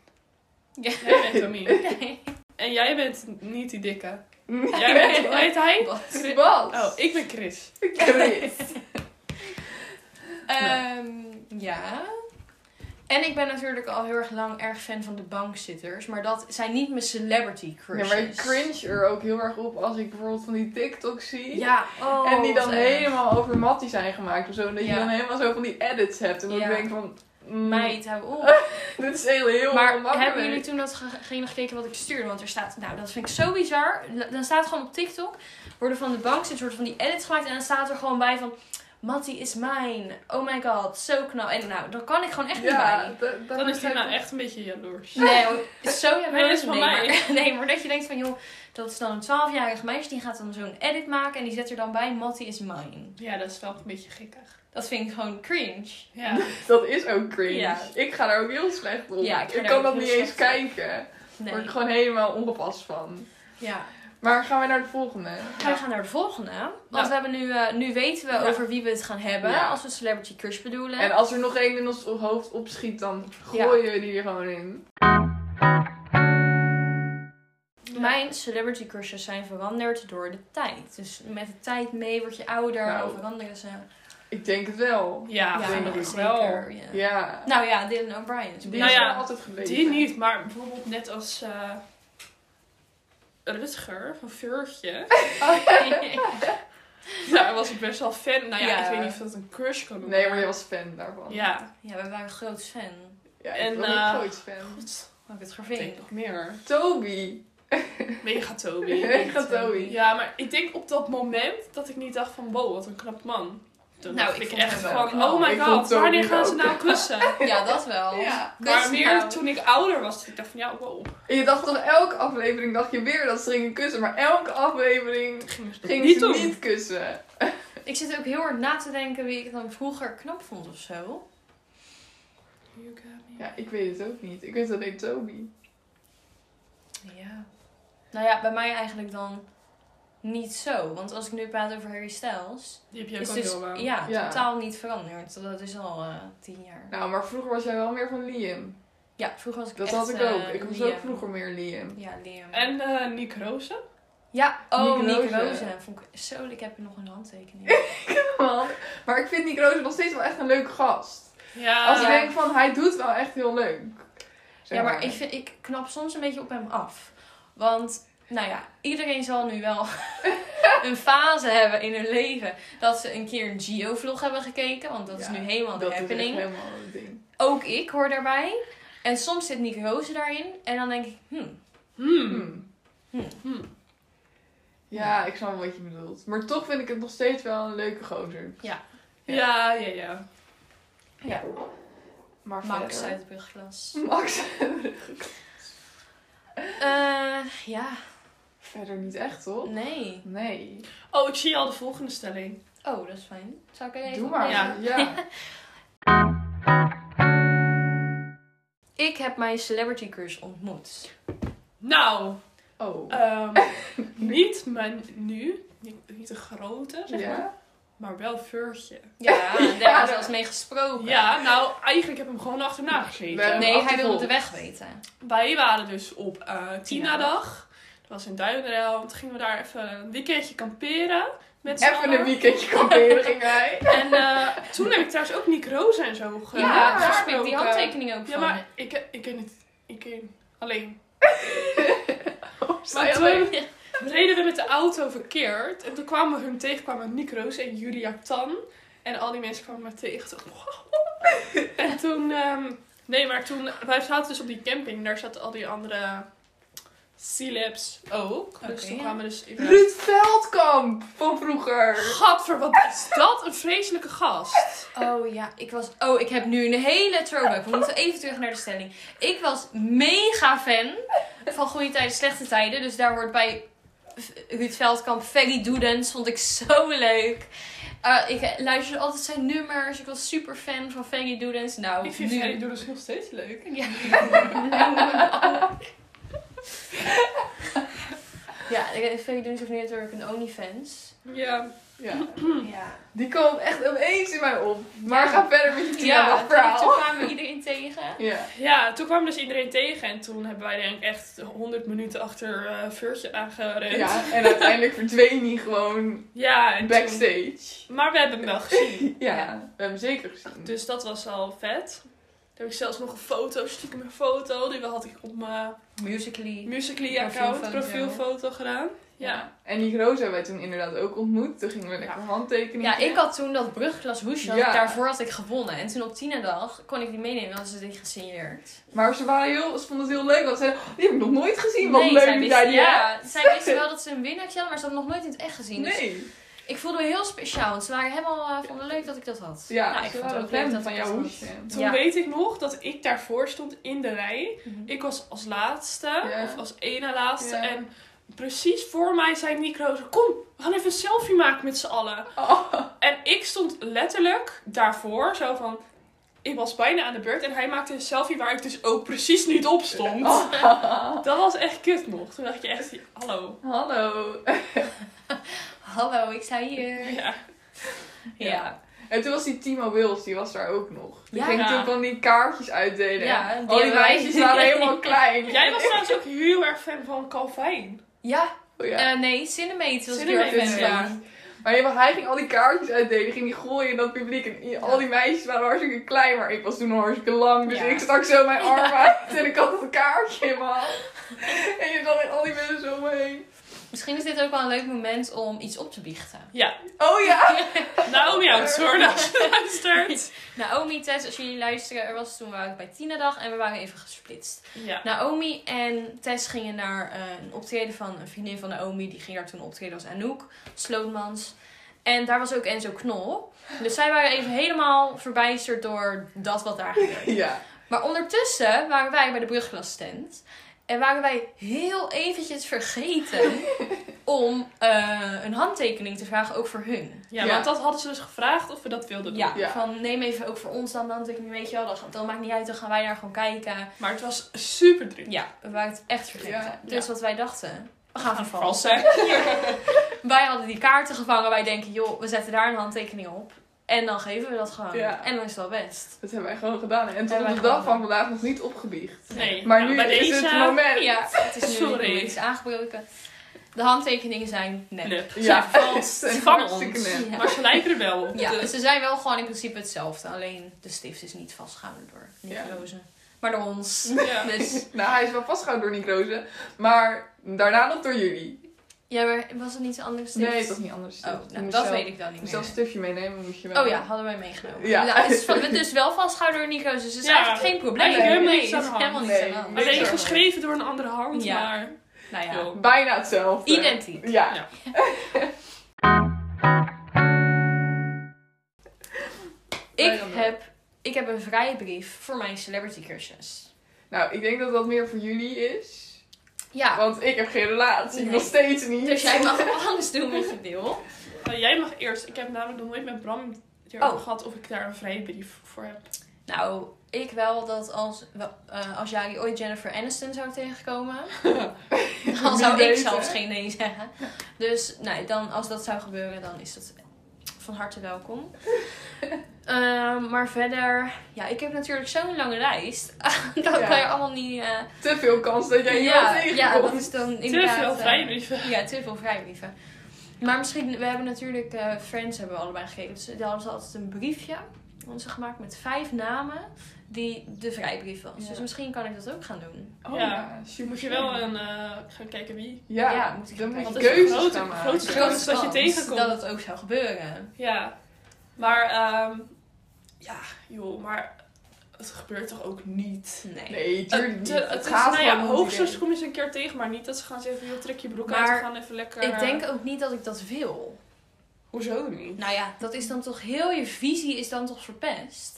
[SPEAKER 3] Ja.
[SPEAKER 1] Jij bent Tomien.
[SPEAKER 3] *laughs* Nee.
[SPEAKER 1] *laughs* En jij bent niet die dikke.
[SPEAKER 2] Nee.
[SPEAKER 1] Jij bent, hoe heet hij?
[SPEAKER 3] Wat?
[SPEAKER 1] Chris-
[SPEAKER 2] Bas.
[SPEAKER 1] Oh, ik ben Chris.
[SPEAKER 3] *laughs*
[SPEAKER 2] Chris.
[SPEAKER 3] Ehm, ja. En ik ben natuurlijk al heel erg lang erg fan van de bankzitters. Maar dat zijn niet mijn celebrity
[SPEAKER 2] Ja,
[SPEAKER 3] crushes.
[SPEAKER 2] maar ik cringe er ook heel erg op als ik bijvoorbeeld van die TikTok zie.
[SPEAKER 3] Ja, oh,
[SPEAKER 2] En die dan
[SPEAKER 3] wat erg.
[SPEAKER 2] helemaal over Mattie zijn gemaakt of zo. En dat
[SPEAKER 3] Ja.
[SPEAKER 2] je dan helemaal zo van die edits hebt. En dan
[SPEAKER 3] Ja.
[SPEAKER 2] denk ik van... mm,
[SPEAKER 3] Meid, hou op.
[SPEAKER 2] Dit is heel, heel
[SPEAKER 3] Maar
[SPEAKER 2] ongemakkelijk.
[SPEAKER 3] hebben jullie toen datgene gekeken wat ik stuurde? Want er staat, nou dat vind ik zo bizar. L- Dan staat gewoon op TikTok, worden van de bank een soort van die edits gemaakt. En dan staat er gewoon bij van, Mattie is mijn. Oh my god, zo knap. En nou, dan kan ik gewoon echt
[SPEAKER 2] Ja,
[SPEAKER 3] niet
[SPEAKER 2] da-
[SPEAKER 1] Dan
[SPEAKER 2] da-
[SPEAKER 1] is hij
[SPEAKER 2] begrijp
[SPEAKER 1] nou
[SPEAKER 2] ik-
[SPEAKER 1] echt een beetje jaloers.
[SPEAKER 3] bij. Nee, hoor, zo jaloers
[SPEAKER 1] Nee, dat is van
[SPEAKER 3] nee,
[SPEAKER 1] mij.
[SPEAKER 3] Maar, *laughs* nee, maar dat je denkt van joh, dat is dan een 12-jarig meisje. Die gaat dan zo'n edit maken en die zet er dan bij, Mattie is mijn.
[SPEAKER 1] Ja, dat is wel een beetje gekkig.
[SPEAKER 3] Dat vind ik gewoon cringe.
[SPEAKER 1] Ja.
[SPEAKER 2] Dat is ook cringe.
[SPEAKER 3] Ja.
[SPEAKER 2] Ik ga daar ook heel slecht op.
[SPEAKER 3] Ja, ik
[SPEAKER 2] ik
[SPEAKER 3] ga daar ook
[SPEAKER 2] kan dat
[SPEAKER 3] heel
[SPEAKER 2] niet eens
[SPEAKER 3] slecht
[SPEAKER 2] kijken. Daar word
[SPEAKER 3] Nee.
[SPEAKER 2] ik gewoon helemaal ongepast van.
[SPEAKER 3] Ja.
[SPEAKER 2] Maar gaan wij naar de volgende?
[SPEAKER 3] Wij gaan naar de volgende.
[SPEAKER 1] Ja.
[SPEAKER 3] Want we hebben nu, eh, nu weten we
[SPEAKER 1] Ja.
[SPEAKER 3] over wie we het gaan hebben.
[SPEAKER 2] Ja.
[SPEAKER 3] Als we Celebrity Crush bedoelen.
[SPEAKER 2] En als er nog één in ons hoofd opschiet, dan gooien we die er gewoon in.
[SPEAKER 3] Mijn Celebrity Crushes zijn veranderd door de tijd. Dus met de tijd mee word je ouder.
[SPEAKER 2] Nou.
[SPEAKER 3] of veranderen ze.
[SPEAKER 2] Ik denk het wel.
[SPEAKER 1] Ja,
[SPEAKER 2] Ja,
[SPEAKER 1] vind
[SPEAKER 2] dat
[SPEAKER 1] ik
[SPEAKER 2] is
[SPEAKER 1] wel.
[SPEAKER 3] Ja.
[SPEAKER 2] Ja.
[SPEAKER 3] Nou ja, Dylan O'Brien. is
[SPEAKER 2] Die
[SPEAKER 3] een
[SPEAKER 1] Nou *laughs*
[SPEAKER 2] is
[SPEAKER 1] ja,
[SPEAKER 2] er altijd gebleven.
[SPEAKER 1] Die niet, maar bijvoorbeeld net als eh, Rutger van Veurtje. *laughs*
[SPEAKER 3] beetje-
[SPEAKER 1] Daar was ik best wel fan. Nou ja,
[SPEAKER 3] Ja.
[SPEAKER 1] ik weet niet of dat een crush kan noemen.
[SPEAKER 2] Nee, maar je was fan daarvan.
[SPEAKER 1] Ja.
[SPEAKER 3] ja, we waren groot fan.
[SPEAKER 2] Ja,
[SPEAKER 1] En,
[SPEAKER 2] ik ben
[SPEAKER 1] eh,
[SPEAKER 2] ook groot fan.
[SPEAKER 1] God,
[SPEAKER 3] Mag ik het
[SPEAKER 1] ik denk
[SPEAKER 3] vervelend?
[SPEAKER 1] nog meer.
[SPEAKER 2] Toby.
[SPEAKER 1] Mega Toby.
[SPEAKER 2] *laughs* Ik ga Toby.
[SPEAKER 1] Ja, maar ik denk op dat moment dat ik niet dacht van wow, wat een knap man. Toen
[SPEAKER 3] Nou,
[SPEAKER 1] dacht
[SPEAKER 3] ik
[SPEAKER 1] ik,
[SPEAKER 3] vond
[SPEAKER 1] echt
[SPEAKER 3] hem wel
[SPEAKER 1] van
[SPEAKER 3] knap.
[SPEAKER 1] oh my
[SPEAKER 2] Ik vond
[SPEAKER 1] god,
[SPEAKER 2] Toby
[SPEAKER 1] wanneer gaan ze
[SPEAKER 2] ook.
[SPEAKER 1] nou
[SPEAKER 3] *laughs*
[SPEAKER 1] kussen?
[SPEAKER 3] Ja, dat wel.
[SPEAKER 2] Ja.
[SPEAKER 1] maar
[SPEAKER 3] Kus
[SPEAKER 1] meer
[SPEAKER 3] nou.
[SPEAKER 1] toen ik ouder was, dat ik dacht van ja, wow.
[SPEAKER 2] En je dacht dan elke aflevering dacht je weer dat ze gingen kussen. Maar elke aflevering
[SPEAKER 1] Ging ze
[SPEAKER 2] gingen
[SPEAKER 1] niet
[SPEAKER 2] ze
[SPEAKER 1] doen.
[SPEAKER 2] niet kussen.
[SPEAKER 3] Ik zit ook heel hard na te denken wie ik dan vroeger knap vond of zo.
[SPEAKER 1] You got me.
[SPEAKER 2] Ja, ik weet het ook niet. Ik weet alleen Toby.
[SPEAKER 3] Ja. Nou ja, bij mij eigenlijk dan niet zo. Want als ik nu praat over Harry Styles,
[SPEAKER 1] Die heb je ook
[SPEAKER 3] is
[SPEAKER 1] al
[SPEAKER 3] dus
[SPEAKER 1] heel lang.
[SPEAKER 3] ja,
[SPEAKER 2] Ja.
[SPEAKER 3] totaal niet veranderd. Dat is al eh, tien jaar.
[SPEAKER 2] Nou, maar vroeger was jij wel meer van Liam.
[SPEAKER 3] Ja, vroeger was ik
[SPEAKER 2] Dat
[SPEAKER 3] echt,
[SPEAKER 2] had ik
[SPEAKER 3] eh,
[SPEAKER 2] ook. Ik was ook
[SPEAKER 3] Liam.
[SPEAKER 2] vroeger meer Liam.
[SPEAKER 3] Ja, Liam.
[SPEAKER 1] En eh Nick Rozen.
[SPEAKER 3] Ja, oh,
[SPEAKER 2] Nick
[SPEAKER 3] Nick
[SPEAKER 2] Rozen.
[SPEAKER 3] Rozen. Vond ik, zo, ik heb nog een handtekening.
[SPEAKER 2] Man. Maar ik vind Nick Roos nog steeds wel echt een leuk gast.
[SPEAKER 1] Ja.
[SPEAKER 2] Als ik
[SPEAKER 3] ja.
[SPEAKER 2] denk van, hij doet wel echt heel leuk. Zeg
[SPEAKER 3] Ah. ja, maar ik, vind, ik knap soms een beetje op hem af. Want, nou ja, iedereen zal nu wel *laughs* een fase hebben in hun leven dat ze een keer een Geo-vlog hebben gekeken. Want dat is
[SPEAKER 2] Ja,
[SPEAKER 3] nu helemaal de
[SPEAKER 2] dat is echt
[SPEAKER 3] happening.
[SPEAKER 2] helemaal het ding.
[SPEAKER 3] Ook ik hoor daarbij. En soms zit Nick Rozen daarin. En dan denk ik, hmm,
[SPEAKER 1] Hmm.
[SPEAKER 2] Hmm.
[SPEAKER 3] Hmm.
[SPEAKER 1] Hmm.
[SPEAKER 2] Ja, ik snap wel wat je bedoelt. Maar toch vind ik het nog steeds wel een leuke gozer.
[SPEAKER 1] Ja, ja, ja.
[SPEAKER 3] ja,
[SPEAKER 2] Maar
[SPEAKER 3] Max
[SPEAKER 2] verder-
[SPEAKER 3] uit Brugklas.
[SPEAKER 2] *laughs* Max.
[SPEAKER 3] Eh, ja,
[SPEAKER 2] Verder niet echt, toch?
[SPEAKER 3] nee.
[SPEAKER 2] Nee.
[SPEAKER 1] Oh, ik zie al de volgende stelling.
[SPEAKER 3] Oh, dat is fijn. Zou ik er even
[SPEAKER 2] Doe maar.
[SPEAKER 3] opnemen?
[SPEAKER 2] Ja.
[SPEAKER 1] Ja.
[SPEAKER 3] *laughs* Ik heb mijn celebrity crush ontmoet.
[SPEAKER 1] Nou,
[SPEAKER 2] Oh.
[SPEAKER 3] Eh, *laughs*
[SPEAKER 1] ehm, niet mijn nu. Niet, niet de grote, zeg maar.
[SPEAKER 2] ja?
[SPEAKER 1] Maar wel Furtje.
[SPEAKER 3] Ja, *laughs* daar
[SPEAKER 2] Ja.
[SPEAKER 3] was zelfs mee gesproken.
[SPEAKER 1] Ja, nou, eigenlijk heb ik hem gewoon achterna gezeten.
[SPEAKER 2] Nee.
[SPEAKER 3] Nee, hij
[SPEAKER 2] Achtervolgd.
[SPEAKER 3] wilde de weg weten.
[SPEAKER 1] Wij waren dus op eh Tina-dag. Dat was in Duinderel. Toen gingen we daar even een weekendje kamperen. Met z'n
[SPEAKER 2] Even een
[SPEAKER 1] allen.
[SPEAKER 3] *laughs*
[SPEAKER 2] weekendje kamperen ging hij.
[SPEAKER 1] En eh, toen heb ik trouwens ook Nick Rozen en zo ge-
[SPEAKER 3] Ja,
[SPEAKER 2] Ja,
[SPEAKER 3] daar heb ik
[SPEAKER 1] gesproken.
[SPEAKER 3] die handtekening ook eh,
[SPEAKER 1] Ja,
[SPEAKER 3] van.
[SPEAKER 1] maar ik, ik ken het. Ik ken alleen.
[SPEAKER 2] Zei
[SPEAKER 1] Maar
[SPEAKER 2] alleen.
[SPEAKER 1] toen reden we met de auto verkeerd. En toen kwamen we hun tegen, kwamen Nick Rozen en Julia Tan. En al die mensen kwamen me tegen. Toen, wow. En toen... ehm, nee, maar toen... Wij zaten dus op die camping. Daar zaten al die andere... C-Labs ook.
[SPEAKER 3] Oké,
[SPEAKER 1] dus toen
[SPEAKER 3] ja.
[SPEAKER 1] kwamen dus... inderdaad-
[SPEAKER 2] Ruud Veldkamp van vroeger.
[SPEAKER 1] Gadver, wat is dat? Een vreselijke gast.
[SPEAKER 3] Oh ja, ik was. Oh, ik heb nu een hele
[SPEAKER 1] *laughs*
[SPEAKER 3] throwback. We moeten even terug naar de stelling. Ik was mega fan van goede tijden, slechte tijden. Dus daar wordt bij Ruud Veldkamp, Ferry Doedens. Vond ik zo leuk. Eh, ik luisterde altijd zijn nummers. Ik was super fan van Ferry Doedens. Nou,
[SPEAKER 1] Ik vind
[SPEAKER 3] nu-
[SPEAKER 1] Ferry
[SPEAKER 2] dus-
[SPEAKER 1] Doeders nog steeds leuk. *laughs*
[SPEAKER 3] Ja. ja, Ferry Doedens heeft nu natuurlijk een OnlyFans.
[SPEAKER 1] Ja.
[SPEAKER 2] Ja.
[SPEAKER 1] Hmm.
[SPEAKER 3] Ja.
[SPEAKER 2] Die kwam echt opeens in mij op. Maar
[SPEAKER 3] Ja.
[SPEAKER 2] ga verder met je Tina
[SPEAKER 3] Ja,
[SPEAKER 2] dag
[SPEAKER 3] toen-
[SPEAKER 2] verhaal.
[SPEAKER 3] toen kwamen we iedereen tegen.
[SPEAKER 2] Ja.
[SPEAKER 1] Ja, toen kwam dus iedereen tegen. En toen hebben wij denk ik echt 100 minuten achter eh Furtje aangerend.
[SPEAKER 2] ja, en uiteindelijk verdween hij gewoon
[SPEAKER 1] Ja, en toen-
[SPEAKER 2] backstage.
[SPEAKER 1] Maar we hebben hem wel gezien.
[SPEAKER 2] Ja,
[SPEAKER 3] Ja.
[SPEAKER 2] we hebben hem zeker gezien.
[SPEAKER 1] Dus dat was al vet. Toen heb ik zelfs nog een foto, stiekem een foto. Die had ik op mijn
[SPEAKER 3] Musically.
[SPEAKER 1] Musical.ly-account,
[SPEAKER 3] Profielfoto.
[SPEAKER 1] profielfoto gedaan. Ja.
[SPEAKER 2] En die Roos hebben wij toen inderdaad ook ontmoet. Toen gingen we lekker handtekeningen.
[SPEAKER 3] Ja, ik had toen dat brugklas hoesje,
[SPEAKER 2] Ja.
[SPEAKER 3] daarvoor had ik gewonnen. En toen op dag kon ik die meenemen, want ze dit gesigneerd.
[SPEAKER 2] Maar ze, waren heel, ze vonden het heel leuk. Want ze zeiden, "Oh, die heb ik nog nooit gezien. Wat leuk
[SPEAKER 3] zij
[SPEAKER 2] dat
[SPEAKER 3] wisten,
[SPEAKER 2] jij die hebt."
[SPEAKER 3] ja, zij wisten wel dat ze een winnaartje hadden, maar ze hadden nog nooit in het echt gezien. Dus
[SPEAKER 2] Nee.
[SPEAKER 3] ik voelde me heel speciaal, want ze waren helemaal eh, vonden leuk dat ik dat had.
[SPEAKER 2] Ja,
[SPEAKER 3] Nou, ik
[SPEAKER 2] ze
[SPEAKER 3] vond het
[SPEAKER 2] waren
[SPEAKER 3] ook leuk
[SPEAKER 2] fan
[SPEAKER 3] dat
[SPEAKER 2] van
[SPEAKER 3] ik
[SPEAKER 2] jouw
[SPEAKER 3] dat
[SPEAKER 2] hoesje.
[SPEAKER 3] had.
[SPEAKER 1] Toen
[SPEAKER 3] Ja.
[SPEAKER 1] weet ik nog dat ik daarvoor stond in de rij.
[SPEAKER 3] Mhm.
[SPEAKER 1] Ik was als laatste,
[SPEAKER 2] Ja.
[SPEAKER 1] of als ene laatste.
[SPEAKER 2] Ja.
[SPEAKER 1] En precies voor mij zei Nick Rozen, kom, we gaan even een selfie maken met z'n allen.
[SPEAKER 2] Oh.
[SPEAKER 1] En ik stond letterlijk daarvoor, zo van... Ik was bijna aan de beurt en hij maakte een selfie waar ik dus ook precies niet op stond.
[SPEAKER 2] Oh.
[SPEAKER 1] Dat was echt kut nog. Toen dacht je echt, hallo.
[SPEAKER 2] *laughs* Hallo.
[SPEAKER 3] Hallo, ik sta hier. Ja.
[SPEAKER 1] Ja.
[SPEAKER 3] *laughs* Ja.
[SPEAKER 2] En toen was die Timo Wils, die was daar ook nog. Die
[SPEAKER 3] Ja.
[SPEAKER 2] ging toen van die kaartjes uitdelen.
[SPEAKER 3] Ja, die
[SPEAKER 2] Al die
[SPEAKER 3] hebben wij.
[SPEAKER 2] meisjes waren
[SPEAKER 3] *laughs*
[SPEAKER 2] helemaal klein.
[SPEAKER 1] Jij was trouwens ook heel erg fan van Calvin.
[SPEAKER 2] Oh ja.
[SPEAKER 3] eh, nee, Cinemate was ik heel
[SPEAKER 1] Cinemate,
[SPEAKER 3] erg fan
[SPEAKER 1] ja.
[SPEAKER 3] van.
[SPEAKER 2] Maar ja, hij ging al die kaartjes uitdelen, ging die gooien in dat publiek. En i- al die meisjes waren hartstikke klein, maar ik was toen al hartstikke lang. Dus
[SPEAKER 3] Ja.
[SPEAKER 2] ik stak zo mijn arm uit en ik had dat kaartje in mijn hand. En je zag al die mensen zo mee.
[SPEAKER 3] Misschien is dit ook wel een leuk moment om iets op te biechten.
[SPEAKER 1] Ja,
[SPEAKER 2] Oh ja!
[SPEAKER 3] *laughs*
[SPEAKER 1] Naomi houdt het hoor, als je luistert.
[SPEAKER 3] Naomi, Nou, Tess, als jullie luisteren, er was toen we waren bij Tina dag en we waren even gesplitst.
[SPEAKER 1] Ja.
[SPEAKER 3] Naomi en Tess gingen naar eh, een optreden van een vriendin van Naomi. Die ging daar toen optreden als Anouk Slootmans. En daar was ook Enzo Knol. Dus zij waren even helemaal verbijsterd door dat wat daar gebeurde.
[SPEAKER 2] Ja.
[SPEAKER 3] Maar ondertussen waren wij bij de brugglas tent. En waren wij heel eventjes vergeten om eh, een handtekening te vragen, ook voor hun.
[SPEAKER 1] Ja,
[SPEAKER 2] Ja.
[SPEAKER 1] want dat hadden ze dus gevraagd of we dat wilden doen.
[SPEAKER 3] Ja,
[SPEAKER 2] Ja.
[SPEAKER 3] van neem even ook voor ons dan een handtekening, weet je wel. Dan, dan maakt niet uit, dan gaan wij daar gewoon kijken.
[SPEAKER 1] Maar het was super druk.
[SPEAKER 3] Ja, we waren het echt vergeten.
[SPEAKER 2] Ja,
[SPEAKER 3] dus wat wij dachten, we gaan
[SPEAKER 1] Gaan
[SPEAKER 3] vervalsen.
[SPEAKER 1] vast zijn.
[SPEAKER 3] Wij hadden die kaarten gevangen. Wij denken, joh, we zetten daar een handtekening op. En dan geven we dat gewoon.
[SPEAKER 2] Ja.
[SPEAKER 3] En dan is dat best.
[SPEAKER 2] Dat hebben wij gewoon gedaan. En tot
[SPEAKER 3] Hebben
[SPEAKER 2] op
[SPEAKER 3] wij
[SPEAKER 2] de dag
[SPEAKER 3] gewoon
[SPEAKER 2] van vandaag nog niet opgebiecht.
[SPEAKER 1] Nee,
[SPEAKER 2] Maar
[SPEAKER 1] nou,
[SPEAKER 2] nu
[SPEAKER 1] bij
[SPEAKER 2] is
[SPEAKER 1] deze-
[SPEAKER 2] het moment.
[SPEAKER 3] Ja, het is nu
[SPEAKER 1] Sorry.
[SPEAKER 3] Sorry. iets aangebroken. De handtekeningen zijn nep.
[SPEAKER 1] Nep.
[SPEAKER 2] Ja,
[SPEAKER 1] vals.
[SPEAKER 2] *laughs* het is
[SPEAKER 1] Van
[SPEAKER 2] hartstikke
[SPEAKER 1] ons.
[SPEAKER 2] nep.
[SPEAKER 1] *laughs*
[SPEAKER 3] Ja.
[SPEAKER 1] Maar ze lijken er wel op.
[SPEAKER 2] *laughs*
[SPEAKER 3] Ja,
[SPEAKER 1] dus-
[SPEAKER 3] ze zijn wel gewoon in principe hetzelfde. Alleen de stift is niet vastgehouden door
[SPEAKER 2] Ja.
[SPEAKER 3] Nicozen. Maar door ons.
[SPEAKER 1] Ja.
[SPEAKER 3] Dus
[SPEAKER 2] Nou, hij is wel vastgehouden door Nicoze. Maar daarna nog door jullie.
[SPEAKER 3] ja, maar was het niet een andere stift?
[SPEAKER 2] Nee, toch niet anders.
[SPEAKER 3] Oh, nou, dat weet ik dan niet meer.
[SPEAKER 2] Zelfs een stufje meenemen moest je wel.
[SPEAKER 3] Oh ja, hadden wij meegenomen.
[SPEAKER 2] Ja.
[SPEAKER 3] Ja. het is van- dus wel vastgehouden door Nico's, dus het is
[SPEAKER 1] Ja.
[SPEAKER 3] eigenlijk geen probleem.
[SPEAKER 1] Eigenlijk helemaal
[SPEAKER 3] nee,
[SPEAKER 1] niks aan
[SPEAKER 3] het is
[SPEAKER 1] de hand.
[SPEAKER 3] helemaal niet
[SPEAKER 2] Nee,
[SPEAKER 3] aan de hand.
[SPEAKER 2] niks
[SPEAKER 1] Alleen
[SPEAKER 2] aan de hand.
[SPEAKER 1] geschreven door een andere hand,
[SPEAKER 3] Ja.
[SPEAKER 1] maar...
[SPEAKER 3] Nou ja,
[SPEAKER 1] Joh.
[SPEAKER 2] Bijna hetzelfde.
[SPEAKER 3] identiek.
[SPEAKER 2] Ja.
[SPEAKER 1] Ja.
[SPEAKER 3] Ik
[SPEAKER 2] dan wel.
[SPEAKER 3] heb, ik heb een vrijbrief voor mijn celebrity cursus.
[SPEAKER 2] Nou, ik denk dat dat meer voor jullie is.
[SPEAKER 3] Ja,
[SPEAKER 2] Want ik heb geen relatie.
[SPEAKER 3] Ah. Nee.
[SPEAKER 2] Nog steeds niet. *laughs*
[SPEAKER 3] dus jij *laughs* mag wat anders doen met je deel.
[SPEAKER 1] Nou, jij mag eerst. Ik heb namelijk nog nooit met Bram erover
[SPEAKER 3] Oh.
[SPEAKER 1] gehad of ik daar een vrijbrief voor heb.
[SPEAKER 3] Nou, ik wel dat als, wel, eh, als jullie ooit Jennifer Aniston zou tegenkomen, dan zou
[SPEAKER 2] Wie
[SPEAKER 3] ik
[SPEAKER 2] weet,
[SPEAKER 3] zelfs
[SPEAKER 2] hè?
[SPEAKER 3] geen nee zeggen. Dus nee, dan, als dat zou gebeuren, dan is dat van harte
[SPEAKER 2] *laughs*
[SPEAKER 3] welkom. Ehm, maar verder, ja, ik heb natuurlijk zo'n lange lijst. *laughs* dat
[SPEAKER 2] Ja.
[SPEAKER 3] kan je allemaal niet. eh,
[SPEAKER 2] Te veel kans dat jij iemand
[SPEAKER 3] ja,
[SPEAKER 2] tegenkomt.
[SPEAKER 3] ja, dat is dan
[SPEAKER 1] Te
[SPEAKER 3] inderdaad.
[SPEAKER 1] veel
[SPEAKER 3] eh,
[SPEAKER 1] vrijbrieven.
[SPEAKER 3] *laughs* ja, te veel vrijbrieven. Maar misschien, we hebben natuurlijk eh, Friends hebben we allebei gekeken. Dus daar hadden ze altijd een briefje. Hadden ze gemaakt met vijf namen die de vrijbrief was.
[SPEAKER 2] Ja.
[SPEAKER 3] Dus misschien kan ik dat ook gaan doen.
[SPEAKER 2] Oh,
[SPEAKER 1] Ja.
[SPEAKER 2] ja. super
[SPEAKER 1] Moet je wel een, eh, gaan kijken wie.
[SPEAKER 2] Ja,
[SPEAKER 3] Ja, moet ik
[SPEAKER 2] dan
[SPEAKER 3] even
[SPEAKER 2] moet je
[SPEAKER 1] kijken. Want het is
[SPEAKER 2] keuzes
[SPEAKER 1] een grote-
[SPEAKER 2] gaan maken.
[SPEAKER 1] grote kans. dat je tegenkomt.
[SPEAKER 3] Dat het ook zou gebeuren.
[SPEAKER 1] Ja. Maar, ehm, ja, joh, maar het gebeurt toch ook niet?
[SPEAKER 3] Nee.
[SPEAKER 2] Nee, tuurlijk niet.
[SPEAKER 1] Het, het, is,
[SPEAKER 2] gaat
[SPEAKER 1] nou ja,
[SPEAKER 2] gewoon om
[SPEAKER 1] hoogstens
[SPEAKER 2] die
[SPEAKER 1] kom je ze een keer tegen, maar niet dat ze gaan zeggen, joh, trek je broek
[SPEAKER 3] Maar
[SPEAKER 1] uit, we gaan even lekker... eh,
[SPEAKER 3] Ik denk ook niet dat ik dat wil.
[SPEAKER 1] Hoezo niet?
[SPEAKER 3] Nou ja, dat is dan toch heel je visie is dan toch verpest.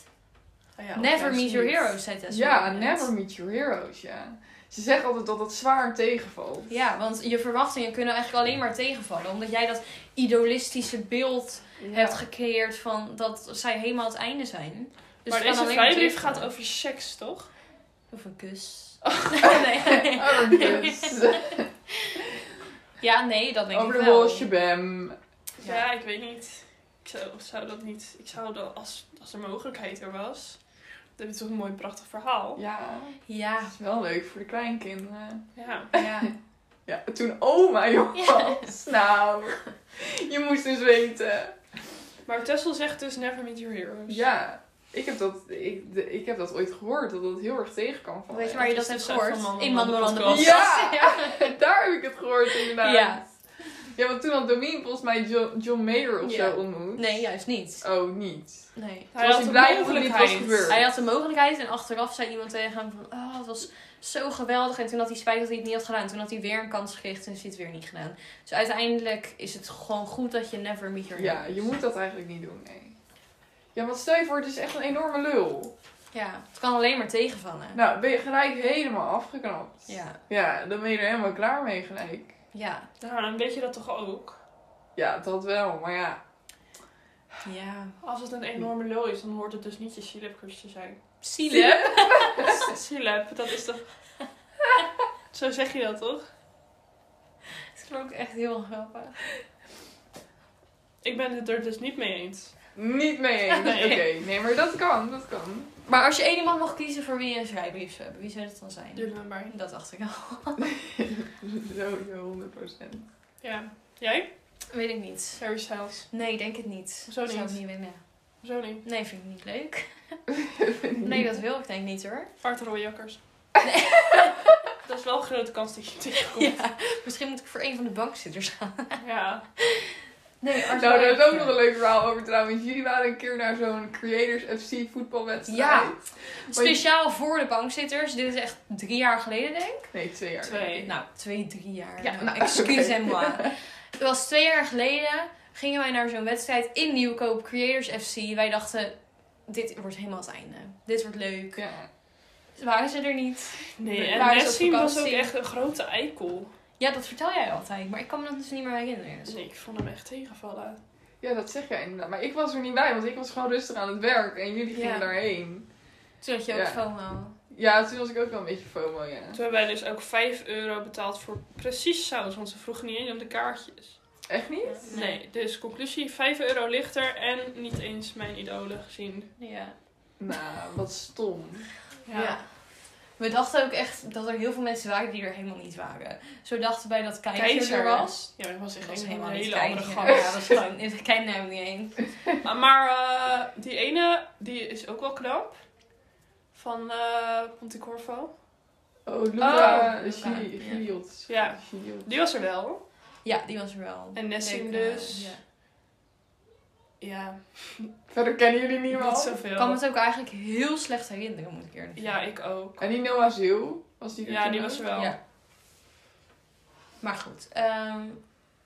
[SPEAKER 1] Ah ja,
[SPEAKER 3] never
[SPEAKER 1] juist
[SPEAKER 3] meet your
[SPEAKER 1] niet.
[SPEAKER 3] heroes, zei
[SPEAKER 2] idee.
[SPEAKER 3] Tess.
[SPEAKER 2] Ja,
[SPEAKER 3] net.
[SPEAKER 2] never meet your heroes, ja. Ze zeggen altijd dat dat zwaar tegenvalt.
[SPEAKER 3] Ja, want je verwachtingen kunnen eigenlijk alleen maar tegenvallen. Omdat jij dat idolistische beeld hebt gecreëerd van dat zij helemaal het einde zijn.
[SPEAKER 1] maar
[SPEAKER 3] Dus het kan
[SPEAKER 1] deze
[SPEAKER 3] alleen maar
[SPEAKER 1] vrijbrief
[SPEAKER 3] tegenvallen.
[SPEAKER 1] gaat over seks,
[SPEAKER 2] *laughs*
[SPEAKER 1] toch?
[SPEAKER 3] Of een kus. *laughs* nee.
[SPEAKER 2] Oh, dus.
[SPEAKER 3] Ja, nee, dat denk
[SPEAKER 2] Over
[SPEAKER 3] ik
[SPEAKER 2] de
[SPEAKER 3] wel.
[SPEAKER 2] whole shabam.
[SPEAKER 1] *laughs* Ja,
[SPEAKER 3] Ja.
[SPEAKER 1] ik weet niet. Ik zou, zou dat niet... Ik zou dat, als, als er mogelijkheid er was... Dan is toch een mooi, prachtig verhaal.
[SPEAKER 2] Ja,
[SPEAKER 3] Oh. Ja,
[SPEAKER 2] dat is wel leuk voor de kleinkinderen.
[SPEAKER 1] Ja.
[SPEAKER 3] ja.
[SPEAKER 2] Ja, toen oma, *laughs* jongens.
[SPEAKER 3] Ja.
[SPEAKER 2] Nou, je moest dus weten.
[SPEAKER 1] Maar Tessel zegt dus never meet your heroes.
[SPEAKER 2] Ja, ik heb dat, ik, de- ik heb dat ooit gehoord, dat dat heel erg tegen kan vallen.
[SPEAKER 3] Weet je waar je dat
[SPEAKER 1] dat is
[SPEAKER 3] hebt
[SPEAKER 1] dus echt
[SPEAKER 3] gehoord?
[SPEAKER 1] van Man-
[SPEAKER 3] In
[SPEAKER 1] Man-
[SPEAKER 3] Man Man de
[SPEAKER 1] Podcast.
[SPEAKER 3] Podcast. *laughs*
[SPEAKER 2] Ja! *laughs* Daar heb ik het gehoord inderdaad.
[SPEAKER 3] Ja.
[SPEAKER 2] Ja, want toen had Domien volgens mij John, John Mayer of
[SPEAKER 1] Ja.
[SPEAKER 2] zo ontmoet.
[SPEAKER 3] Nee, juist niet.
[SPEAKER 2] Oh, niet.
[SPEAKER 3] Nee.
[SPEAKER 1] Hij
[SPEAKER 2] was
[SPEAKER 1] had
[SPEAKER 2] ik
[SPEAKER 1] de
[SPEAKER 2] blij dat het niet was
[SPEAKER 1] mogelijkheid.
[SPEAKER 2] gebeurd.
[SPEAKER 3] Hij had de mogelijkheid en achteraf zei iemand tegen hem van... Oh, het was zo geweldig. En toen had hij spijt dat hij het niet had gedaan. Toen had hij weer een kans gekregen en heeft hij het weer niet gedaan. Dus uiteindelijk is het gewoon goed dat je never meet your
[SPEAKER 2] Ja, je moet dat eigenlijk niet doen, nee. Ja, want stel je voor, het is echt een enorme lul.
[SPEAKER 3] Ja, het kan alleen maar tegenvallen.
[SPEAKER 2] Nou, ben je gelijk helemaal afgeknapt.
[SPEAKER 3] Ja,
[SPEAKER 2] Ja, dan ben je er helemaal klaar mee gelijk.
[SPEAKER 3] ja,
[SPEAKER 1] Nou, dan weet je dat toch ook?
[SPEAKER 2] Ja, dat wel, maar ja.
[SPEAKER 3] ja.
[SPEAKER 1] Als het een enorme lul is, dan hoort het dus niet je Silapcursus te *laughs* zijn.
[SPEAKER 3] Zielig.
[SPEAKER 1] Silap, dat is toch... *laughs* Zo zeg je dat, toch?
[SPEAKER 3] *laughs* Het klonk echt heel grappig.
[SPEAKER 1] Ik ben het er dus niet mee eens.
[SPEAKER 2] Niet mee eens.
[SPEAKER 1] *laughs* Nee.
[SPEAKER 2] Oké, nee, maar dat kan, dat
[SPEAKER 1] *laughs*
[SPEAKER 2] kan.
[SPEAKER 3] Maar als je één iemand mag kiezen voor wie je een vrijbrief zou hebben, wie zou dat dan zijn?
[SPEAKER 1] Jullie maar.
[SPEAKER 3] Dat dacht ik al.
[SPEAKER 2] Sowieso, 100%. *laughs*
[SPEAKER 1] Ja. Jij?
[SPEAKER 3] Weet ik niet.
[SPEAKER 1] Harry Styles.
[SPEAKER 3] Nee, ik denk het niet.
[SPEAKER 1] Hoezo
[SPEAKER 3] Zou
[SPEAKER 1] niet?
[SPEAKER 3] ik niet winnen.
[SPEAKER 1] Zo niet.
[SPEAKER 3] Nee, vind ik niet
[SPEAKER 2] *laughs*
[SPEAKER 3] leuk. Nee,
[SPEAKER 2] Nee,
[SPEAKER 3] dat wil ik denk ik niet hoor.
[SPEAKER 1] Zwarte rode jakkers. *laughs* dat is wel een grote kans dat je tegenkomt.
[SPEAKER 3] Ja, misschien moet ik voor een van de bankzitters gaan.
[SPEAKER 1] Ja.
[SPEAKER 3] Nee, *laughs*
[SPEAKER 2] Nou, daar is ook nog een leuk verhaal over trouwens. Jullie waren een keer naar zo'n Creators FC voetbalwedstrijd.
[SPEAKER 3] Ja. Speciaal voor de bankzitters. Dit is echt drie jaar geleden denk ik.
[SPEAKER 2] Nee, twee jaar.
[SPEAKER 1] Twee.
[SPEAKER 3] Nou, twee, drie jaar.
[SPEAKER 2] Ja, nou, *laughs*
[SPEAKER 3] excusez-moi. Het was twee jaar geleden. Gingen wij naar zo'n wedstrijd in Nieuwkoop, Creators FC. Wij dachten, dit wordt helemaal het einde. Dit wordt leuk.
[SPEAKER 2] Ja.
[SPEAKER 3] Waren ze er niet?
[SPEAKER 1] Nee, en
[SPEAKER 3] Waar is
[SPEAKER 1] Messi
[SPEAKER 3] op
[SPEAKER 1] was ook
[SPEAKER 3] vakantie?
[SPEAKER 1] echt een grote eikel.
[SPEAKER 3] Ja, dat vertel jij altijd. Maar ik kan me dat dus niet meer herinneren. Dus-
[SPEAKER 1] Nee, ik vond hem echt tegenvallen.
[SPEAKER 2] ja, dat zeg jij inderdaad. Maar ik was er niet bij, want ik was gewoon rustig aan het werk en jullie gingen
[SPEAKER 3] Ja.
[SPEAKER 2] daarheen.
[SPEAKER 3] Toen had je ook
[SPEAKER 2] Ja.
[SPEAKER 3] FOMO.
[SPEAKER 2] Ja, toen was ik ook wel een beetje FOMO, ja.
[SPEAKER 1] Toen hebben wij dus ook 5 euro betaald voor precies saus, want ze vroegen niet eens om de kaartjes.
[SPEAKER 2] Echt niet?
[SPEAKER 3] Nee.
[SPEAKER 1] Nee, dus conclusie 5 euro lichter en niet eens mijn idolen gezien.
[SPEAKER 3] Ja.
[SPEAKER 2] Nou, wat stom.
[SPEAKER 3] Ja. We dachten ook echt dat er heel veel mensen waren die er helemaal niet waren. Zo dachten wij dat Keizer,
[SPEAKER 1] Keizer.
[SPEAKER 3] er was.
[SPEAKER 1] Ja, maar dat was
[SPEAKER 3] Dat
[SPEAKER 1] echt
[SPEAKER 3] was
[SPEAKER 1] een
[SPEAKER 3] helemaal niet
[SPEAKER 1] hele andere
[SPEAKER 3] Keizer.
[SPEAKER 1] gang.
[SPEAKER 3] Ja, dat is gewoon... Ik kijk naar hem niet heen.
[SPEAKER 1] Maar, maar, eh, die ene, die is ook wel knap. Van eh Pontecorvo.
[SPEAKER 2] Oh, Luca.
[SPEAKER 3] Oh,
[SPEAKER 2] Oh,
[SPEAKER 3] Luca.
[SPEAKER 2] Giot.
[SPEAKER 1] Ja. Die was er wel.
[SPEAKER 3] Ja, die was er wel.
[SPEAKER 1] En Nessim
[SPEAKER 3] Leuk, eh,
[SPEAKER 1] dus.
[SPEAKER 3] ja.
[SPEAKER 1] Ja,
[SPEAKER 2] Verder kennen jullie
[SPEAKER 1] niet
[SPEAKER 2] niemand.
[SPEAKER 3] Ik
[SPEAKER 1] zoveel.
[SPEAKER 3] kan me het ook eigenlijk heel slecht herinneren, moet ik eerlijk
[SPEAKER 1] Ja, ik ook.
[SPEAKER 2] En die Noah Ziel, was die er
[SPEAKER 1] Ja,
[SPEAKER 2] toen
[SPEAKER 1] die
[SPEAKER 2] ook?
[SPEAKER 1] was er wel.
[SPEAKER 3] Ja. Maar goed, ehm,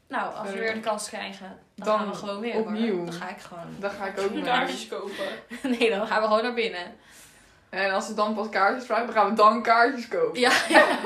[SPEAKER 3] nou, als we
[SPEAKER 2] Verder.
[SPEAKER 3] weer de kans krijgen, dan,
[SPEAKER 2] Dan
[SPEAKER 3] gaan we gewoon weer. hoor.
[SPEAKER 2] opnieuw.
[SPEAKER 3] Dan ga ik gewoon. *laughs*
[SPEAKER 2] Daar ga ik ook
[SPEAKER 1] Nu
[SPEAKER 2] mee.
[SPEAKER 1] kaartjes kopen.
[SPEAKER 3] Nee, dan gaan we gewoon naar binnen.
[SPEAKER 2] En als ze dan pas kaartjes vragen, dan gaan we dan kaartjes kopen.
[SPEAKER 3] Ja.
[SPEAKER 1] *laughs*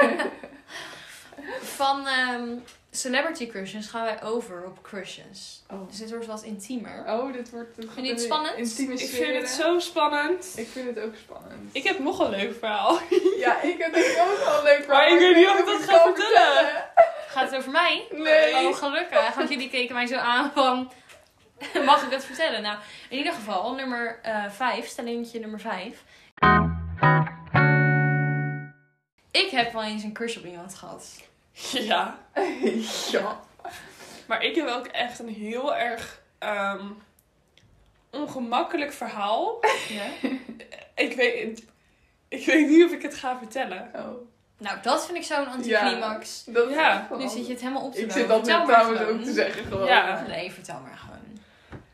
[SPEAKER 3] Van ehm, celebrity crushes gaan wij over op crushes.
[SPEAKER 2] Oh,
[SPEAKER 3] Dus dit wordt wat intiemer.
[SPEAKER 2] oh dit wordt... Vind
[SPEAKER 3] je het spannend?
[SPEAKER 2] Intieme
[SPEAKER 1] Ik vind
[SPEAKER 2] sfeer.
[SPEAKER 1] het zo spannend.
[SPEAKER 2] Ik vind het ook spannend.
[SPEAKER 1] Ik heb nog een leuk verhaal. *laughs*
[SPEAKER 2] Ja, ik heb het ook wel een leuk
[SPEAKER 1] Maar ik weet niet of ik dat
[SPEAKER 2] het
[SPEAKER 1] ga
[SPEAKER 2] kan
[SPEAKER 1] vertellen.
[SPEAKER 3] Gaat het over mij?
[SPEAKER 2] Nee.
[SPEAKER 3] Oh, gelukkig. Want jullie keken mij zo aan van... *laughs* Mag ik het vertellen? Nou, in ieder geval, nummer 5, stellingetje nummer 5. Ik heb wel eens een crush op iemand gehad.
[SPEAKER 1] Ja.
[SPEAKER 2] *laughs* ja.
[SPEAKER 1] Maar ik heb ook echt een heel erg ehm, ongemakkelijk verhaal.
[SPEAKER 3] Ja?
[SPEAKER 1] Ik weet, ik weet niet of ik het ga vertellen.
[SPEAKER 2] Oh.
[SPEAKER 3] Nou, dat vind ik zo'n anticlimax.
[SPEAKER 2] Dat is
[SPEAKER 1] Ja,
[SPEAKER 2] echt wel
[SPEAKER 3] Nu zit je
[SPEAKER 2] handig.
[SPEAKER 3] het helemaal op te
[SPEAKER 2] Ik zit dat nu
[SPEAKER 3] bouwen. Vertel maar
[SPEAKER 2] trouwens
[SPEAKER 3] gewoon.
[SPEAKER 2] ook te zeggen gewoon.
[SPEAKER 1] Ja.
[SPEAKER 3] Nee, vertel maar gewoon.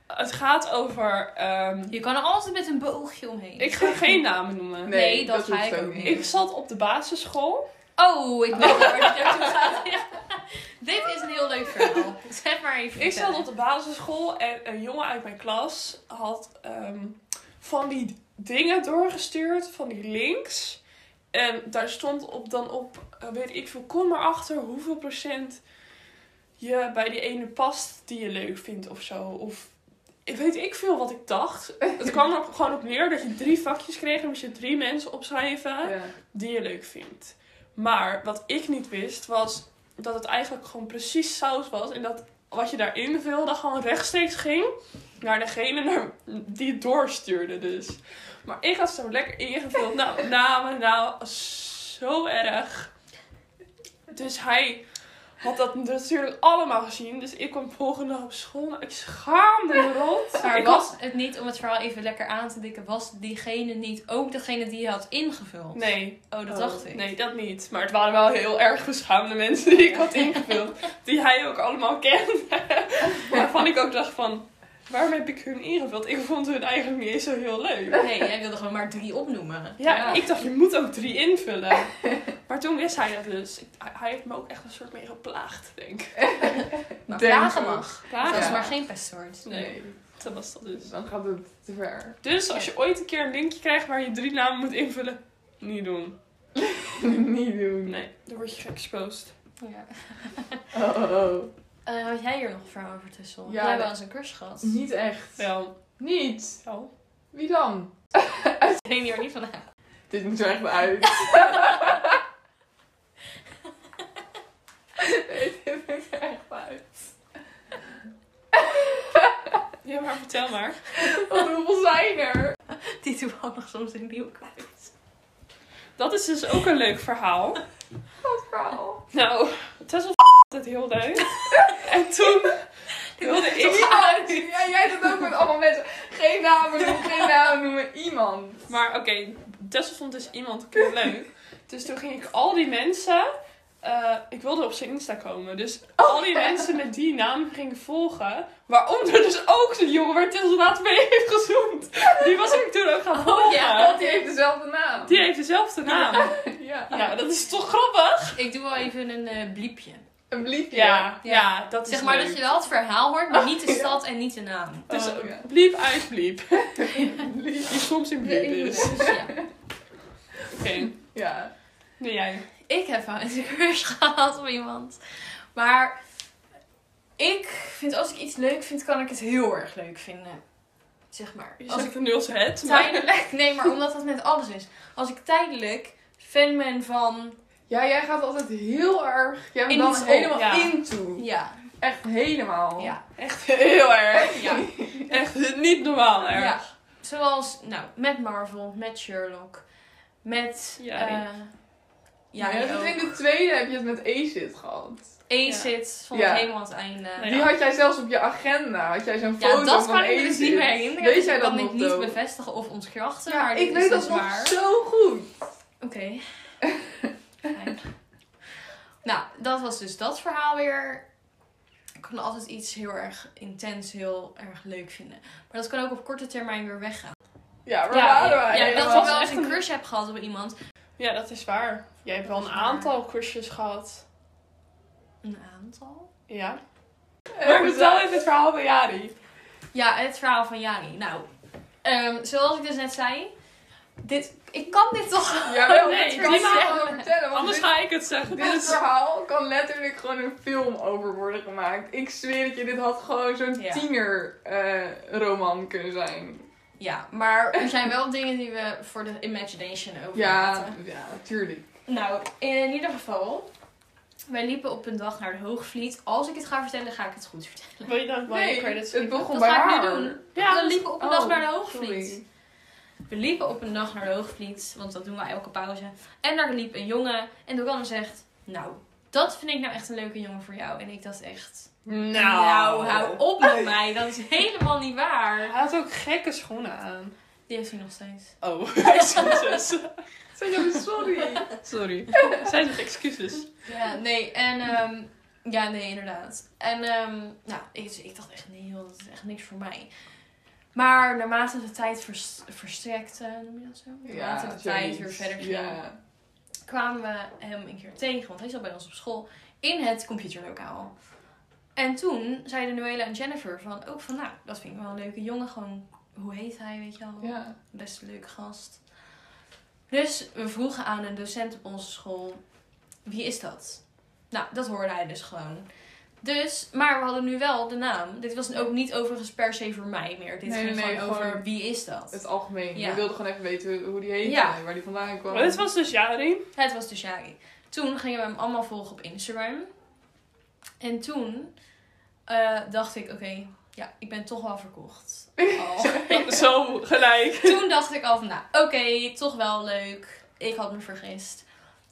[SPEAKER 1] Het gaat over. ehm,
[SPEAKER 3] Je kan er altijd met een boogje omheen.
[SPEAKER 1] ik ga geen namen noemen.
[SPEAKER 3] Nee, dat ga
[SPEAKER 2] hoeft
[SPEAKER 3] ik ook niet.
[SPEAKER 1] Ik zat op de basisschool.
[SPEAKER 3] Oh, ik weet waar dit naartoe gaat. Ja. *laughs* Dit is een heel leuk verhaal. Zeg maar even
[SPEAKER 1] Ik zat
[SPEAKER 3] vertellen.
[SPEAKER 1] op de basisschool en een jongen uit mijn klas had ehm, van die dingen doorgestuurd, van die links. En daar stond op dan op, eh, weet ik veel, kom maar achter hoeveel procent je bij die ene past die je leuk vindt of zo. Of ik weet ik veel wat ik dacht. Het kwam er gewoon op neer dat je drie vakjes kreeg en moest je drie mensen opschrijven.
[SPEAKER 2] Ja.
[SPEAKER 1] die je leuk vindt. Maar wat ik niet wist was dat het eigenlijk gewoon precies saus was. En dat wat je daarin vulde gewoon rechtstreeks ging naar degene naar, die het doorstuurde dus. Maar ik had zo lekker ingevuld. Nou, namen, nou, zo erg. Dus hij had dat natuurlijk allemaal gezien. Dus ik kwam volgende dag op school. Nou, ik schaamde me rot.
[SPEAKER 3] Maar
[SPEAKER 1] ik
[SPEAKER 3] was het niet, om het verhaal even lekker aan te dikken, was diegene niet ook degene die je had ingevuld?
[SPEAKER 1] Nee,
[SPEAKER 3] Oh, dat
[SPEAKER 2] Oh,
[SPEAKER 3] dacht ik.
[SPEAKER 1] Nee, dat niet. Maar het waren wel heel erg beschaamde mensen die ik had
[SPEAKER 3] Ja.
[SPEAKER 1] ingevuld. Die hij ook allemaal kende. *laughs* Waarvan ik ook dacht van, waarom heb ik hun ingevuld? Ik vond hun eigenlijk niet eens zo heel leuk.
[SPEAKER 3] Nee, jij wilde gewoon maar drie opnoemen.
[SPEAKER 1] Ja, ik dacht, je moet ook drie invullen. *laughs* Maar toen wist hij dat dus. Ik- hij- hij heeft me ook echt een soort mee geplaagd, denk ik.
[SPEAKER 3] Maar
[SPEAKER 2] Denk
[SPEAKER 3] vragen
[SPEAKER 2] ook.
[SPEAKER 3] mag.
[SPEAKER 1] Plaagd?
[SPEAKER 3] Dat is
[SPEAKER 2] Ja.
[SPEAKER 3] maar geen pestwoord.
[SPEAKER 1] Nee,
[SPEAKER 2] Nee.
[SPEAKER 1] dat was dat dus.
[SPEAKER 2] Dus dan gaat het te ver. *laughs*
[SPEAKER 1] Dus als je ooit een keer een linkje krijgt waar je drie namen moet invullen, niet doen.
[SPEAKER 2] niet doen.
[SPEAKER 1] Nee, dan word je geëxposed.
[SPEAKER 3] Ja.
[SPEAKER 2] Oh, oh, oh.
[SPEAKER 3] Eh, had jij hier nog een verhaal over Tessel?
[SPEAKER 2] Ja,
[SPEAKER 3] jij hebt
[SPEAKER 2] dat-
[SPEAKER 3] wel eens een crush gehad. *laughs*
[SPEAKER 2] Niet echt.
[SPEAKER 1] Wel,
[SPEAKER 2] Niet.
[SPEAKER 1] wel.
[SPEAKER 2] Wie dan?
[SPEAKER 3] Ik neem hier niet van aan.
[SPEAKER 2] Dit moet er echt *laughs* uit. Nee, Dit moet er echt uit.
[SPEAKER 1] Ja, maar vertel maar.
[SPEAKER 2] Want Oh, hoeveel zijn er?
[SPEAKER 3] Die toevallig soms een nieuw kwijt.
[SPEAKER 1] Dat is dus ook een leuk verhaal.
[SPEAKER 2] Wat verhaal.
[SPEAKER 1] Nou, Tessel het heel leuk. en toen wilde ik...
[SPEAKER 2] Iemand. Ja, jij doet ook met allemaal mensen. Geen namen noemen, geen namen noemen. Iemand.
[SPEAKER 1] Maar oké, Tessel vond dus iemand heel leuk. Dus toen ging ik al die mensen... eh, ik wilde op zijn Insta komen. Dus al die mensen met die naam ging ik volgen. Waaronder dus ook de jongen waar Tessel later mee heeft gezoend. Die was ik toen ook gaan volgen.
[SPEAKER 2] Ja, die heeft dezelfde naam.
[SPEAKER 1] Die heeft dezelfde naam.
[SPEAKER 2] Ja.
[SPEAKER 1] Ja, dat is toch grappig?
[SPEAKER 3] Ik doe wel even een eh, bliepje.
[SPEAKER 2] Een bliepje.
[SPEAKER 1] Ja, ja, dat is
[SPEAKER 3] Zeg maar
[SPEAKER 1] leuk.
[SPEAKER 3] dat je wel het verhaal hoort, maar niet de stad en niet de naam.
[SPEAKER 1] Dus
[SPEAKER 2] Oh, ja.
[SPEAKER 1] bliep uit bliep.
[SPEAKER 2] Een
[SPEAKER 1] Die
[SPEAKER 2] bliepje.
[SPEAKER 1] soms in bliep is. Oké,
[SPEAKER 3] Dus ja.
[SPEAKER 2] Ja.
[SPEAKER 1] nee jij.
[SPEAKER 3] Ik heb wel eens een crush *laughs* gehad op iemand. Maar ik vind als ik iets leuk vind, kan ik het heel erg leuk vinden. Zeg maar.
[SPEAKER 1] Je
[SPEAKER 3] Als
[SPEAKER 1] zegt
[SPEAKER 3] ik
[SPEAKER 1] een nulse het, maar...
[SPEAKER 3] *laughs* tijdelijk. Nee, maar omdat dat met alles is. Als ik tijdelijk fan ben van.
[SPEAKER 2] Ja, jij gaat altijd heel erg. Jij bent
[SPEAKER 3] In
[SPEAKER 2] dan
[SPEAKER 3] iets op,
[SPEAKER 2] helemaal
[SPEAKER 1] ja.
[SPEAKER 2] into.
[SPEAKER 3] Ja.
[SPEAKER 2] Echt
[SPEAKER 1] Oh.
[SPEAKER 2] helemaal.
[SPEAKER 3] Ja.
[SPEAKER 1] Echt heel erg.
[SPEAKER 3] ja.
[SPEAKER 1] Echt niet normaal erg.
[SPEAKER 3] Ja. Zoals, nou, met Marvel, met Sherlock, met...
[SPEAKER 1] Ja,
[SPEAKER 3] eh,
[SPEAKER 2] Ja,
[SPEAKER 3] ja,
[SPEAKER 2] dat
[SPEAKER 3] ook.
[SPEAKER 2] in de tweede heb je het met Acid gehad.
[SPEAKER 3] Acid vond ik
[SPEAKER 2] Ja.
[SPEAKER 3] helemaal aan het einde.
[SPEAKER 1] Nee,
[SPEAKER 2] Die
[SPEAKER 1] ja.
[SPEAKER 2] had jij zelfs op je agenda. Had jij zo'n
[SPEAKER 3] Ja,
[SPEAKER 2] foto
[SPEAKER 3] dat
[SPEAKER 2] van
[SPEAKER 3] kan ik me dus
[SPEAKER 2] Acid.
[SPEAKER 3] niet meer herinneren.
[SPEAKER 2] Weet
[SPEAKER 3] dus
[SPEAKER 2] jij
[SPEAKER 3] ik
[SPEAKER 2] dat
[SPEAKER 3] kan
[SPEAKER 2] nog,
[SPEAKER 3] ik niet
[SPEAKER 2] Doe?
[SPEAKER 3] bevestigen of ontkrachten,
[SPEAKER 2] Ja,
[SPEAKER 3] maar
[SPEAKER 2] ik
[SPEAKER 3] dit
[SPEAKER 2] weet
[SPEAKER 3] is
[SPEAKER 2] dat
[SPEAKER 3] dus
[SPEAKER 2] nog *laughs*
[SPEAKER 3] waar.
[SPEAKER 2] zo goed.
[SPEAKER 3] Oké. Fijn. nou, dat was dus dat verhaal weer. Ik kan altijd iets heel erg intens, heel erg leuk vinden. Maar dat kan ook op korte termijn weer weggaan.
[SPEAKER 2] Ja, waar waren wij?
[SPEAKER 3] ja, dat
[SPEAKER 2] helemaal?
[SPEAKER 3] ik wel eens een crush heb gehad op iemand.
[SPEAKER 1] Ja, dat is waar. Jij hebt wel een
[SPEAKER 3] Dat is waar.
[SPEAKER 1] aantal crushes gehad.
[SPEAKER 3] Een aantal?
[SPEAKER 1] Ja.
[SPEAKER 2] Eh,
[SPEAKER 1] Maar vertel
[SPEAKER 2] vertel-
[SPEAKER 1] even het verhaal van Jari.
[SPEAKER 3] Ja, het verhaal van Jani. Nou, ehm, zoals ik dus net zei. Dit, ik kan dit toch... *laughs*
[SPEAKER 2] Jawel,
[SPEAKER 1] Nee,
[SPEAKER 2] dit
[SPEAKER 1] ik
[SPEAKER 2] kan
[SPEAKER 1] kan
[SPEAKER 2] ik
[SPEAKER 1] niet
[SPEAKER 2] gewoon vertellen. Want
[SPEAKER 1] Anders
[SPEAKER 2] Oh, dit,
[SPEAKER 1] ga ik het zeggen. Dus
[SPEAKER 2] dit verhaal kan letterlijk gewoon een film over worden gemaakt. Ik zweer het je, dit had gewoon zo'n
[SPEAKER 3] Ja.
[SPEAKER 2] tiener eh, roman kunnen zijn.
[SPEAKER 3] Ja, maar er zijn wel *laughs* dingen die we voor de imagination over
[SPEAKER 2] Ja,
[SPEAKER 3] laten.
[SPEAKER 2] ja, tuurlijk.
[SPEAKER 3] Nou, in ieder geval. Wij liepen op een dag naar de Hoogvliet. Als ik het ga vertellen, ga ik het goed vertellen.
[SPEAKER 1] Wil je dan wel je
[SPEAKER 2] Nee,
[SPEAKER 1] credits
[SPEAKER 2] het begon
[SPEAKER 3] Dat
[SPEAKER 2] bij
[SPEAKER 3] ga ik
[SPEAKER 2] haar.
[SPEAKER 3] nu doen.
[SPEAKER 1] Ja,
[SPEAKER 3] we liepen op een dag
[SPEAKER 2] Oh,
[SPEAKER 3] naar de Hoogvliet.
[SPEAKER 2] sorry.
[SPEAKER 3] We liepen op een dag naar de Hoogvliet, want dat doen we elke pauze. En daar liep een jongen en de en zegt, nou, dat vind ik nou echt een leuke jongen voor jou. En ik dacht echt, nou, hou op met mij, dat is helemaal niet
[SPEAKER 1] Hij
[SPEAKER 3] waar.
[SPEAKER 1] had ook gekke schoenen aan. *laughs*
[SPEAKER 3] Die heeft hij nog steeds.
[SPEAKER 1] Oh, excuses.
[SPEAKER 2] Zeg even sorry.
[SPEAKER 1] Sorry. Zij zegt excuses.
[SPEAKER 3] Ja, nee, en ehm, ja, nee, inderdaad. En ehm, nou, ik, dus ik dacht echt, nee joh, dat is echt niks voor mij. Maar naarmate de tijd vers, verstrekte, noem je dat zo? Naarmate de tijd weer
[SPEAKER 2] zoiets.
[SPEAKER 3] verder ging,
[SPEAKER 2] Ja.
[SPEAKER 3] kwamen we hem een keer tegen, want hij zat bij ons op school, in het computerlokaal. En toen zeiden Noëlla en Jennifer van, ook van, nou, dat vind ik wel een leuke jongen, gewoon, hoe heet hij, weet je wel?
[SPEAKER 2] ja.
[SPEAKER 3] Best een leuke gast. Dus we vroegen aan een docent op onze school, wie is dat? Nou, dat hoorde hij dus gewoon. Dus, maar we hadden nu wel de naam. Dit was ook niet overigens per se voor mij meer. Dit
[SPEAKER 2] Nee,
[SPEAKER 3] ging
[SPEAKER 2] nee, nee,
[SPEAKER 3] gewoon over
[SPEAKER 2] gewoon
[SPEAKER 3] wie is dat?
[SPEAKER 2] Het algemeen.
[SPEAKER 3] Ja.
[SPEAKER 2] We wilden gewoon even weten hoe die heette
[SPEAKER 3] Ja.
[SPEAKER 2] en waar die vandaan kwam.
[SPEAKER 1] Maar dit was dus
[SPEAKER 3] *laughs*
[SPEAKER 1] Jari.
[SPEAKER 3] Het was dus Shaggy. Toen gingen we hem allemaal volgen op Instagram. En toen eh, dacht ik, oké, ja, ik ben toch wel
[SPEAKER 2] *laughs*
[SPEAKER 3] verkocht. Al.
[SPEAKER 1] Zo gelijk.
[SPEAKER 3] toen dacht ik al van, nou, oké, toch wel leuk. Ik had me vergist.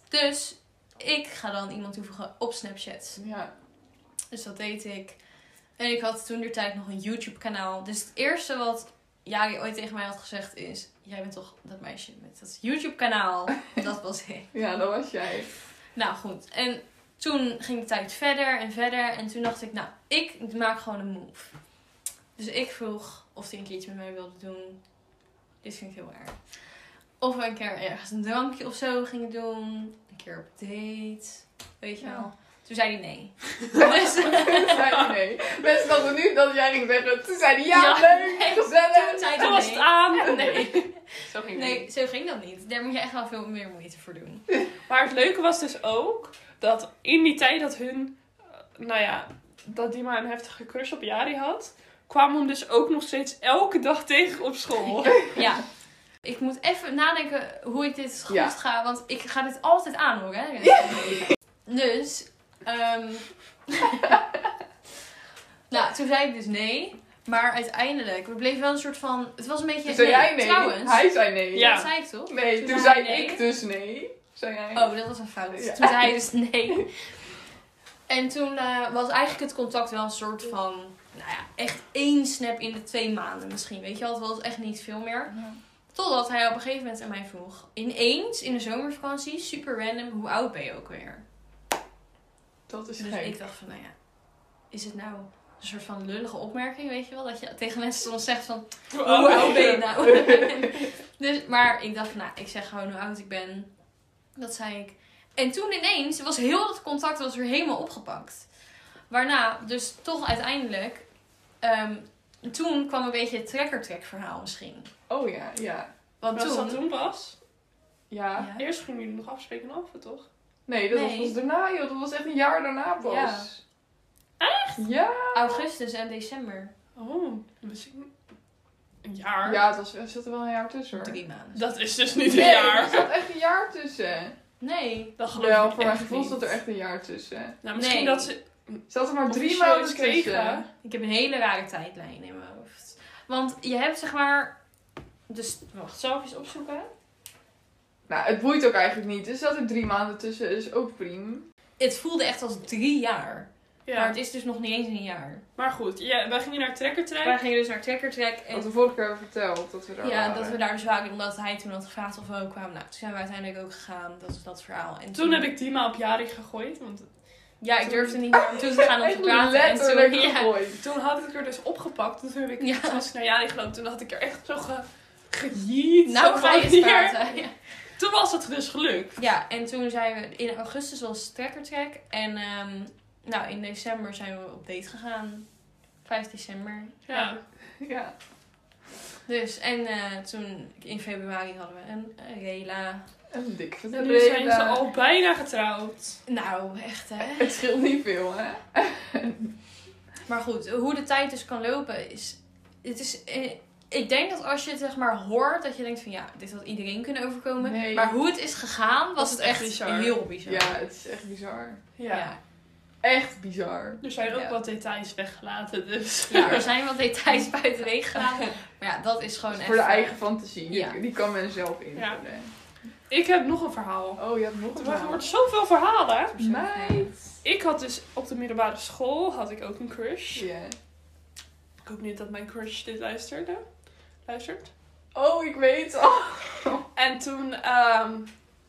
[SPEAKER 3] Dus ik ga dan iemand toevoegen op Snapchat.
[SPEAKER 2] Ja.
[SPEAKER 3] Dus dat deed ik. En ik had toen de tijd nog een YouTube kanaal. Dus het eerste wat Jari ooit tegen mij had gezegd is... Jij bent toch dat meisje met dat YouTube kanaal? Dat was ik.
[SPEAKER 2] ja, dat was jij.
[SPEAKER 3] Nou goed, en toen ging de tijd verder en verder. En toen dacht ik, nou, ik maak gewoon een move. Dus ik vroeg of hij een keertje met mij wilde doen. Dit vind ik heel erg. Of we een keer ergens een drankje of zo gingen doen. Een keer op date. Weet je wel.
[SPEAKER 2] Ja.
[SPEAKER 3] Toen zei hij nee. dus
[SPEAKER 2] *laughs* Toen zei hij nee. Mensen dachten nu dat jij ging zeggen. Toen zei hij ja,
[SPEAKER 3] Ja.
[SPEAKER 2] leuk,
[SPEAKER 3] Nee. *laughs* toen
[SPEAKER 2] gezellig.
[SPEAKER 3] zei
[SPEAKER 1] Toen
[SPEAKER 3] hij
[SPEAKER 1] was het
[SPEAKER 3] nee.
[SPEAKER 1] aan.
[SPEAKER 3] Nee.
[SPEAKER 1] Zo ging het.
[SPEAKER 3] nee, zo ging dat niet. Daar moet je echt wel veel meer moeite voor doen.
[SPEAKER 1] Maar het leuke was dus ook dat in die tijd dat hun, eh, nou ja, dat die maar een heftige crush op Jari had, kwamen we hem dus ook nog steeds elke dag *laughs* tegen op school.
[SPEAKER 3] Ja. Ik moet even nadenken hoe ik dit goed
[SPEAKER 2] Ja.
[SPEAKER 3] ga, want ik ga dit altijd aan hoor. Hè? Dus, ehm *laughs* nou, toen zei ik dus nee. Maar uiteindelijk, we bleven wel een soort van. Het was een beetje.
[SPEAKER 2] Toen zei jij nee.
[SPEAKER 3] Trouwens,
[SPEAKER 2] Hij zei nee.
[SPEAKER 1] Ja.
[SPEAKER 3] dat zei ik toch?
[SPEAKER 2] Nee, toen,
[SPEAKER 3] Toen zei
[SPEAKER 2] zei
[SPEAKER 3] hij nee.
[SPEAKER 2] ik dus nee. Zei jij.
[SPEAKER 3] Oh, dat was een fout.
[SPEAKER 2] Ja.
[SPEAKER 3] Toen zei hij dus
[SPEAKER 2] *laughs*
[SPEAKER 3] nee. En toen eh, was eigenlijk het contact wel een soort van. Nou ja, echt één snap in de twee maanden misschien. Weet je wel, het was echt niet veel meer. Totdat hij op een gegeven moment aan mij vroeg. Ineens in de zomervakantie, super random, hoe oud ben je ook weer?
[SPEAKER 2] Dat is
[SPEAKER 3] Dus
[SPEAKER 2] gek.
[SPEAKER 3] ik dacht van, nou ja, is het nou een soort van lullige opmerking, weet je wel? Dat je tegen mensen soms zegt van, oh,
[SPEAKER 1] Hoe
[SPEAKER 3] hoe oud ben je
[SPEAKER 1] oh.
[SPEAKER 3] nou? dus, maar ik dacht van, nou, ik zeg gewoon hoe oud ik ben. Dat zei ik. En toen ineens was heel het contact was weer helemaal opgepakt. Waarna, dus toch uiteindelijk, ehm, toen kwam een beetje het trekker-trek verhaal misschien.
[SPEAKER 2] Oh ja, ja.
[SPEAKER 3] Want
[SPEAKER 1] Was
[SPEAKER 3] toen...
[SPEAKER 1] dat toen pas?
[SPEAKER 2] Ja.
[SPEAKER 3] Ja.
[SPEAKER 1] Eerst gingen jullie nog afspreken af, toch?
[SPEAKER 2] Nee, dat
[SPEAKER 3] Nee.
[SPEAKER 2] was pas daarna joh. Dat was echt een jaar daarna pas.
[SPEAKER 3] Ja.
[SPEAKER 2] Echt? Ja.
[SPEAKER 3] Augustus en december.
[SPEAKER 1] Oh, misschien een jaar.
[SPEAKER 2] Ja, het was, er zat er wel een jaar tussen hoor.
[SPEAKER 3] Drie maanden.
[SPEAKER 1] Dat is dus niet een
[SPEAKER 2] Nee, er
[SPEAKER 1] jaar.
[SPEAKER 2] zat echt een jaar tussen.
[SPEAKER 3] Nee.
[SPEAKER 1] Dat geloof
[SPEAKER 2] Wel,
[SPEAKER 1] ik
[SPEAKER 2] voor mijn
[SPEAKER 1] echt
[SPEAKER 2] gevoel
[SPEAKER 1] niet.
[SPEAKER 2] zat er echt een jaar tussen.
[SPEAKER 1] Nou, misschien
[SPEAKER 3] Nee.
[SPEAKER 1] dat ze
[SPEAKER 2] Ze had er maar drie
[SPEAKER 1] Officieus
[SPEAKER 2] maanden tussen.
[SPEAKER 1] tegen.
[SPEAKER 3] Ik heb een hele rare tijdlijn in mijn hoofd. Want je hebt zeg maar. Dus wacht, zal ik eens opzoeken?
[SPEAKER 2] Nou, het boeit ook eigenlijk niet. Dus ze had er drie maanden tussen, dus ook prima.
[SPEAKER 3] Het voelde echt als drie jaar.
[SPEAKER 1] Ja.
[SPEAKER 3] Maar
[SPEAKER 1] Maar,
[SPEAKER 3] het is dus nog niet eens een jaar.
[SPEAKER 1] goed, ja, wij gingen naar
[SPEAKER 3] Wij
[SPEAKER 1] trekkertrein.
[SPEAKER 3] gingen dus naar Tracker Track. En
[SPEAKER 2] Wat we vorige keer hebben verteld, dat we daar
[SPEAKER 3] ja,
[SPEAKER 2] waren.
[SPEAKER 3] dat we daar dus waren omdat hij toen had gevraagd of we ook kwamen. Nou, toen zijn we uiteindelijk ook gegaan. Dat is dat verhaal. En
[SPEAKER 1] Toen heb ik Dima op Jari gegooid, want
[SPEAKER 3] Ja, ik
[SPEAKER 1] toen-
[SPEAKER 3] durfde niet meer om toe te *laughs* gaan om te
[SPEAKER 2] Echt
[SPEAKER 3] praten. En
[SPEAKER 2] letterlijk
[SPEAKER 3] toen, ja,
[SPEAKER 2] gegooid.
[SPEAKER 1] toen had ik er dus opgepakt. Toen heb ik
[SPEAKER 3] Ja.
[SPEAKER 1] was naar Jari gelopen. Toen had ik er echt zo ge, gejiet.
[SPEAKER 3] nou
[SPEAKER 1] zo
[SPEAKER 3] ga
[SPEAKER 1] van
[SPEAKER 3] je eens
[SPEAKER 1] hier.
[SPEAKER 3] *laughs* praten. Ja.
[SPEAKER 1] Toen was het dus gelukt.
[SPEAKER 3] Ja, en toen zijn we in augustus was Tracker Track. En ehm, nou, in december zijn we op date gegaan. 5 december.
[SPEAKER 1] Ja.
[SPEAKER 2] Ja.
[SPEAKER 3] Dus, en eh, toen in februari hadden we een rela.
[SPEAKER 2] En dik
[SPEAKER 1] En nu zijn ze
[SPEAKER 2] verdreden.
[SPEAKER 1] al bijna getrouwd.
[SPEAKER 3] Nou, echt hè.
[SPEAKER 2] *laughs* Het scheelt niet veel, hè?
[SPEAKER 3] Maar goed, hoe de tijd dus kan lopen is... Het is eh, ik denk dat als je het zeg maar hoort, dat je denkt van ja, dit had iedereen kunnen overkomen.
[SPEAKER 2] Nee.
[SPEAKER 3] Maar hoe het is gegaan,
[SPEAKER 1] Dat
[SPEAKER 3] was het
[SPEAKER 1] is echt
[SPEAKER 3] echt
[SPEAKER 1] bizar.
[SPEAKER 3] heel bizar.
[SPEAKER 2] Ja, het is echt bizar.
[SPEAKER 1] Ja.
[SPEAKER 3] ja.
[SPEAKER 2] Echt bizar.
[SPEAKER 1] Er zijn ook
[SPEAKER 3] Ja.
[SPEAKER 1] wat details weggelaten, dus. *laughs*
[SPEAKER 3] Ja, er zijn wat details *laughs* buitenwege gelaten. Maar ja, dat is gewoon
[SPEAKER 2] Dat is
[SPEAKER 3] echt...
[SPEAKER 2] voor de
[SPEAKER 3] eh,
[SPEAKER 2] eigen fantasie. Die-
[SPEAKER 3] Ja.
[SPEAKER 2] Die, kan men zelf invullen.
[SPEAKER 1] Ik heb nog een verhaal.
[SPEAKER 2] Oh, je had nog een
[SPEAKER 1] Er
[SPEAKER 2] verhaal.
[SPEAKER 1] wordt zoveel verhalen.
[SPEAKER 2] Meid.
[SPEAKER 1] Ik had dus op de middelbare school had ik ook een crush.
[SPEAKER 2] Ja.
[SPEAKER 1] Ik hoop niet dat mijn crush dit luisterde. Luistert.
[SPEAKER 2] Oh, ik weet al. *laughs*
[SPEAKER 1] En toen, ehm,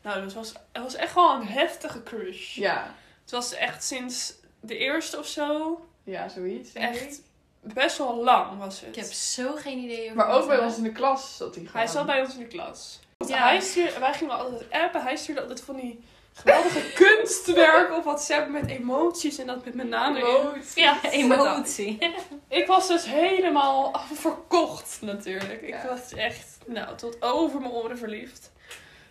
[SPEAKER 1] nou, dat was, het was echt wel een heftige crush.
[SPEAKER 2] Ja.
[SPEAKER 1] Het was echt sinds de eerste of zo.
[SPEAKER 2] Ja, zoiets. Denk ik.
[SPEAKER 1] Echt best wel lang was het.
[SPEAKER 3] Ik heb zo geen idee. over
[SPEAKER 2] Maar
[SPEAKER 3] wat
[SPEAKER 2] ook bij
[SPEAKER 3] het
[SPEAKER 2] ons in de klas zat hij gewoon.
[SPEAKER 1] Hij zat bij ons in de klas. Want
[SPEAKER 3] Ja.
[SPEAKER 1] hij stuurde, wij gingen altijd appen. Hij stuurde altijd van die geweldige *laughs* kunstwerken op WhatsApp met emoties en dat met mijn naam erin.
[SPEAKER 2] Rood.
[SPEAKER 3] *laughs* Ja, emotie.
[SPEAKER 1] Ik was dus helemaal verkocht natuurlijk. Ik
[SPEAKER 2] Ja.
[SPEAKER 1] was echt, nou, tot over mijn oren verliefd.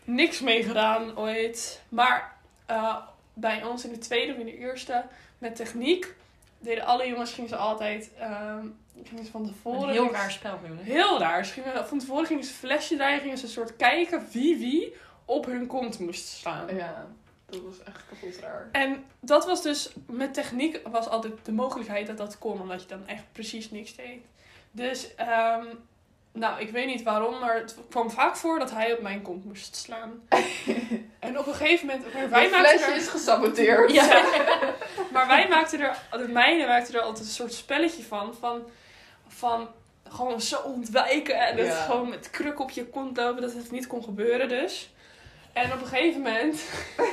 [SPEAKER 1] Niks mee gedaan ooit. Maar eh, bij ons in de tweede of in de eerste met techniek deden alle jongens gingen ze altijd ehm, gingen ze van tevoren
[SPEAKER 3] Een heel raar spel, jongen. *laughs*
[SPEAKER 1] Heel raar. Ze gingen, van tevoren gingen ze flesje draaien, gingen ze een soort kijken wie wie op hun kont moest slaan.
[SPEAKER 3] Oh,
[SPEAKER 2] Ja, dat was echt kapot raar.
[SPEAKER 1] En dat was dus, met techniek was altijd de mogelijkheid dat dat kon, omdat je dan echt precies niks deed. Dus, ehm, nou, ik weet niet waarom, maar het kwam vaak voor dat hij op mijn kont moest slaan. en op een gegeven moment, maar wij
[SPEAKER 2] Mijn flesje
[SPEAKER 1] maakten er,
[SPEAKER 2] is gesaboteerd.
[SPEAKER 1] Ja. *laughs* maar wij maakten er, de meiden maakten er altijd een soort spelletje van, van, van gewoon zo ontwijken en het
[SPEAKER 2] Ja.
[SPEAKER 1] gewoon met kruk op je kont lopen, dat het niet kon gebeuren dus. En op een gegeven moment,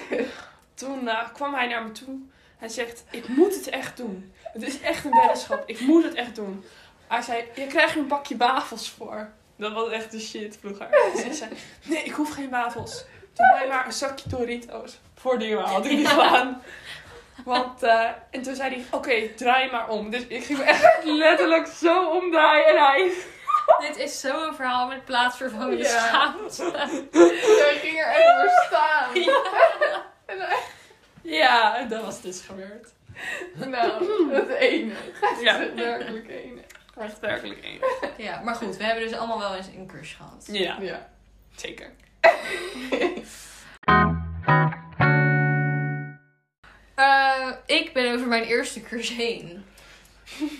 [SPEAKER 1] *laughs* toen eh, kwam hij naar me toe. Hij zegt, ik moet het echt doen. Het is echt een weddenschap, ik moet het echt doen. Hij zei, je krijgt er een bakje wafels voor. Dat was echt de shit vroeger. Dus ik zei, nee, ik hoef geen wafels. Doe mij maar een zakje Doritos. Voor die jongen had ik die gedaan. Want, eh, en toen zei hij, oké, draai maar om. Dus ik ging me echt *laughs* letterlijk zo omdraaien. En hij...
[SPEAKER 3] Dit is zo'n verhaal met plaatsvervangende
[SPEAKER 2] Ja. *laughs*
[SPEAKER 3] schaamte.
[SPEAKER 2] *laughs* Hij ging er echt voor staan.
[SPEAKER 1] *laughs* Ja, en dat was dus gebeurd.
[SPEAKER 2] Nou, dat ene.
[SPEAKER 1] Ja.
[SPEAKER 2] Dat werkelijk ene.
[SPEAKER 1] Echt werkelijk één.
[SPEAKER 3] Ja, maar goed, we hebben dus allemaal wel eens een crush gehad.
[SPEAKER 1] Ja,
[SPEAKER 2] Ja.
[SPEAKER 1] zeker.
[SPEAKER 3] Eh, ik ben over mijn eerste crush heen.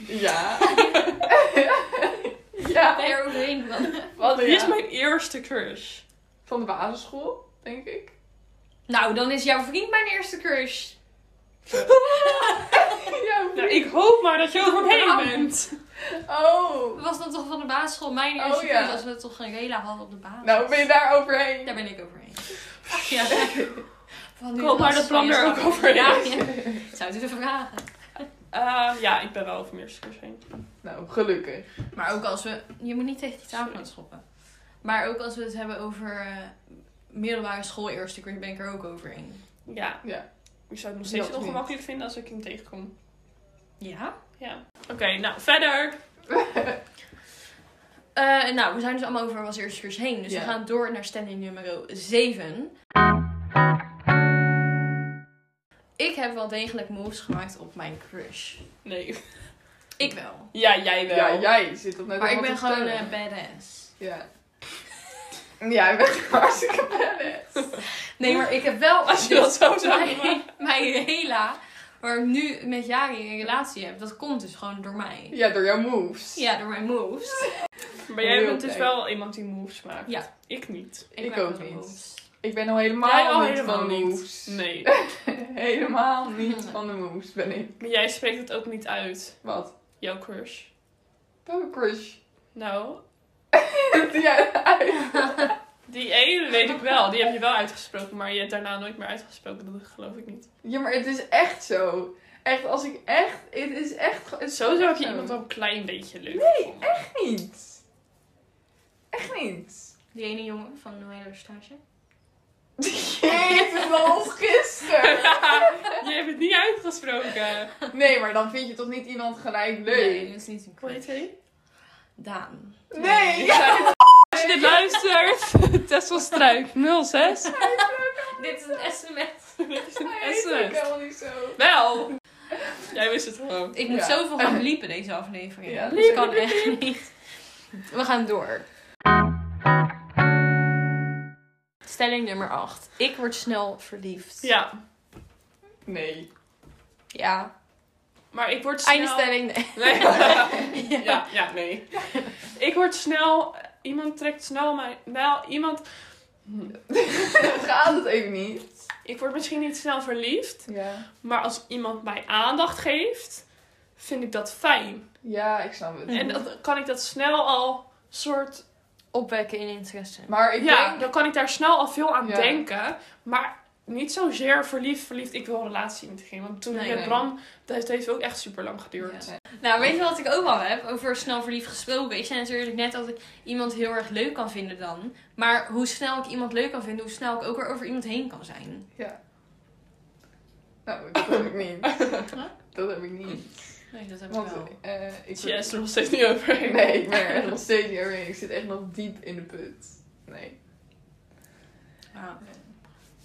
[SPEAKER 2] Ja. *laughs*
[SPEAKER 3] Ik ben
[SPEAKER 2] ja.
[SPEAKER 3] er overheen van.
[SPEAKER 1] Wat
[SPEAKER 2] Oh, Ja.
[SPEAKER 1] Wie is mijn eerste crush? *laughs*
[SPEAKER 2] Van de basisschool, denk ik.
[SPEAKER 3] *laughs* Nou, dan is jouw vriend mijn eerste crush.
[SPEAKER 2] Ja,
[SPEAKER 1] Nou, ik hoop maar dat je
[SPEAKER 3] Nou.
[SPEAKER 1] overheen bent.
[SPEAKER 2] Oh.
[SPEAKER 3] Was dat toch van de basisschool mijn
[SPEAKER 2] Oh,
[SPEAKER 3] eerste
[SPEAKER 2] ja.
[SPEAKER 3] crush? Als we toch geen rela hadden op de basis.
[SPEAKER 2] Nou, ben je daar overheen?
[SPEAKER 3] Daar ben ik overheen.
[SPEAKER 2] *laughs*
[SPEAKER 3] Ja. Van nu
[SPEAKER 1] Kom, maar
[SPEAKER 3] was
[SPEAKER 1] dat plan
[SPEAKER 3] het
[SPEAKER 1] er ook
[SPEAKER 3] van-
[SPEAKER 1] overheen.
[SPEAKER 3] Ja, ja. Ik Zou het even vragen.
[SPEAKER 1] Eh, ja, ik ben wel over mijn eerste crush heen.
[SPEAKER 2] Nou, gelukkig.
[SPEAKER 3] Maar ook als we. Je moet niet tegen die tafel
[SPEAKER 1] Sorry.
[SPEAKER 3] gaan schoppen. Maar ook als we het hebben over eh, middelbare school eerste crush, ben ik er ook overheen.
[SPEAKER 1] Ja.
[SPEAKER 2] Ja.
[SPEAKER 1] Ik zou het nog steeds
[SPEAKER 2] Dat niet.
[SPEAKER 1] ongemakkelijk vinden als ik hem tegenkom.
[SPEAKER 3] Ja?
[SPEAKER 1] Ja. Oké, nou, verder.
[SPEAKER 3] nou, we zijn dus allemaal over als eerste crush heen. Dus
[SPEAKER 2] Ja.
[SPEAKER 3] we gaan door naar standing nummer 7. Ik heb wel degelijk moves gemaakt op mijn crush.
[SPEAKER 1] Nee. *laughs*
[SPEAKER 3] Ik wel.
[SPEAKER 1] Ja, jij wel.
[SPEAKER 2] Ja, jij zit op net
[SPEAKER 3] Maar ik
[SPEAKER 2] allemaal
[SPEAKER 3] ben
[SPEAKER 2] te
[SPEAKER 3] gewoon
[SPEAKER 2] vertellen.
[SPEAKER 3] eh, badass.
[SPEAKER 2] Ja. *laughs* Ja, ik ben *laughs* gewoon
[SPEAKER 3] *laughs*
[SPEAKER 2] hartstikke badass.
[SPEAKER 3] Nee, maar ik heb wel...
[SPEAKER 1] Als je dat zo zou
[SPEAKER 3] Mijn, mijn Hela waar ik nu met Jari een relatie heb, dat komt dus gewoon door mij.
[SPEAKER 2] Ja, door jouw moves.
[SPEAKER 3] Ja, door mijn moves.
[SPEAKER 1] Maar jij
[SPEAKER 2] Heel
[SPEAKER 1] bent dus
[SPEAKER 2] leuk.
[SPEAKER 1] wel iemand die moves maakt.
[SPEAKER 3] Ja.
[SPEAKER 1] Ik niet.
[SPEAKER 2] Ik
[SPEAKER 3] maak
[SPEAKER 2] ook
[SPEAKER 3] wel
[SPEAKER 2] niet.
[SPEAKER 3] moves.
[SPEAKER 2] Ik ben al helemaal
[SPEAKER 1] Jij al
[SPEAKER 2] niet
[SPEAKER 1] helemaal
[SPEAKER 2] van de
[SPEAKER 1] niet.
[SPEAKER 2] moves.
[SPEAKER 1] Nee.
[SPEAKER 2] *laughs* helemaal niet van de moves ben ik.
[SPEAKER 1] Maar jij spreekt het ook niet uit.
[SPEAKER 2] Wat?
[SPEAKER 1] Jouw crush.
[SPEAKER 2] Welke crush? *laughs*
[SPEAKER 1] Nou,
[SPEAKER 2] Doe jij dat uit?
[SPEAKER 1] die ene weet ik wel. Die heb je wel uitgesproken, maar je hebt daarna nooit meer uitgesproken. Dat geloof ik niet.
[SPEAKER 2] *laughs* Ja, maar het is echt zo. Echt, als ik echt... Het is echt... Het is
[SPEAKER 1] Sowieso heb je
[SPEAKER 2] zo.
[SPEAKER 1] iemand al een klein beetje leuk.
[SPEAKER 2] Nee,
[SPEAKER 1] gevonden.
[SPEAKER 2] echt niet. Echt niet.
[SPEAKER 3] Die ene jongen van de hele stage.
[SPEAKER 2] Jezus, dat was gisteren.
[SPEAKER 1] *laughs* je hebt het niet uitgesproken.
[SPEAKER 2] Nee, maar dan vind je toch niet iemand gelijk
[SPEAKER 3] Nee,
[SPEAKER 2] leuk?
[SPEAKER 3] dat is niet een
[SPEAKER 1] Hoe heet
[SPEAKER 3] crush.
[SPEAKER 1] hij?
[SPEAKER 3] Daan.
[SPEAKER 2] Nee.
[SPEAKER 1] Als je dit luistert, *laughs* Tessel Struik 06.
[SPEAKER 3] Dit is een sms.
[SPEAKER 1] Dit is een
[SPEAKER 2] Hij is ook
[SPEAKER 1] essay.
[SPEAKER 2] helemaal niet zo.
[SPEAKER 1] Wel! Jij wist het gewoon.
[SPEAKER 3] Ik moet
[SPEAKER 2] Ja.
[SPEAKER 3] zoveel gaan bliepen deze aflevering.
[SPEAKER 2] Ja,
[SPEAKER 3] dat
[SPEAKER 2] bliep,
[SPEAKER 3] kan
[SPEAKER 2] bliep,
[SPEAKER 3] echt niet. We gaan door. Stelling nummer 8. Ik word snel verliefd.
[SPEAKER 1] Ja,
[SPEAKER 2] *laughs* Nee.
[SPEAKER 3] Ja.
[SPEAKER 1] maar ik word snel...
[SPEAKER 3] Einde stelling. Nee.
[SPEAKER 1] Nee. *laughs*
[SPEAKER 3] *laughs* Ja.
[SPEAKER 1] ja, ja, nee. *laughs* Ik word snel... Iemand trekt snel mijn... Nou, iemand...
[SPEAKER 2] Gaat het even niet?
[SPEAKER 1] Ik word misschien niet snel verliefd.
[SPEAKER 2] Ja.
[SPEAKER 1] Maar als iemand mij aandacht geeft, vind ik dat fijn.
[SPEAKER 2] Ja, ik snap het.
[SPEAKER 1] En dan kan ik dat snel al soort...
[SPEAKER 3] Opwekken in interesse.
[SPEAKER 2] Maar ik
[SPEAKER 1] ja,
[SPEAKER 2] denk...
[SPEAKER 1] dan kan ik daar snel al veel aan
[SPEAKER 2] Ja.
[SPEAKER 1] denken. Maar niet zozeer verliefd, verliefd. Ik wil een relatie met diegene. Want toen
[SPEAKER 3] Nee,
[SPEAKER 1] ik met
[SPEAKER 2] nee.
[SPEAKER 1] Bram... Dat heeft ook echt super lang geduurd.
[SPEAKER 3] Ja. Nou, weet je wat ik ook al heb? Over snel verliefd gesproken. Ik zei natuurlijk net dat ik iemand heel erg leuk kan vinden dan. Maar hoe snel ik iemand leuk kan vinden, hoe snel ik ook weer over iemand heen kan zijn.
[SPEAKER 2] Nou, dat heb ik
[SPEAKER 1] *laughs*
[SPEAKER 2] niet. Dat heb ik niet.
[SPEAKER 3] Nee, dat heb ik
[SPEAKER 2] Want
[SPEAKER 3] wel.
[SPEAKER 2] eh, ik...
[SPEAKER 1] Jij Dus is er nog steeds niet overheen.
[SPEAKER 2] Nee, ik ben er echt nog steeds niet overheen. Ik zit echt nog diep in de put. Nee.
[SPEAKER 3] Ja. Ah.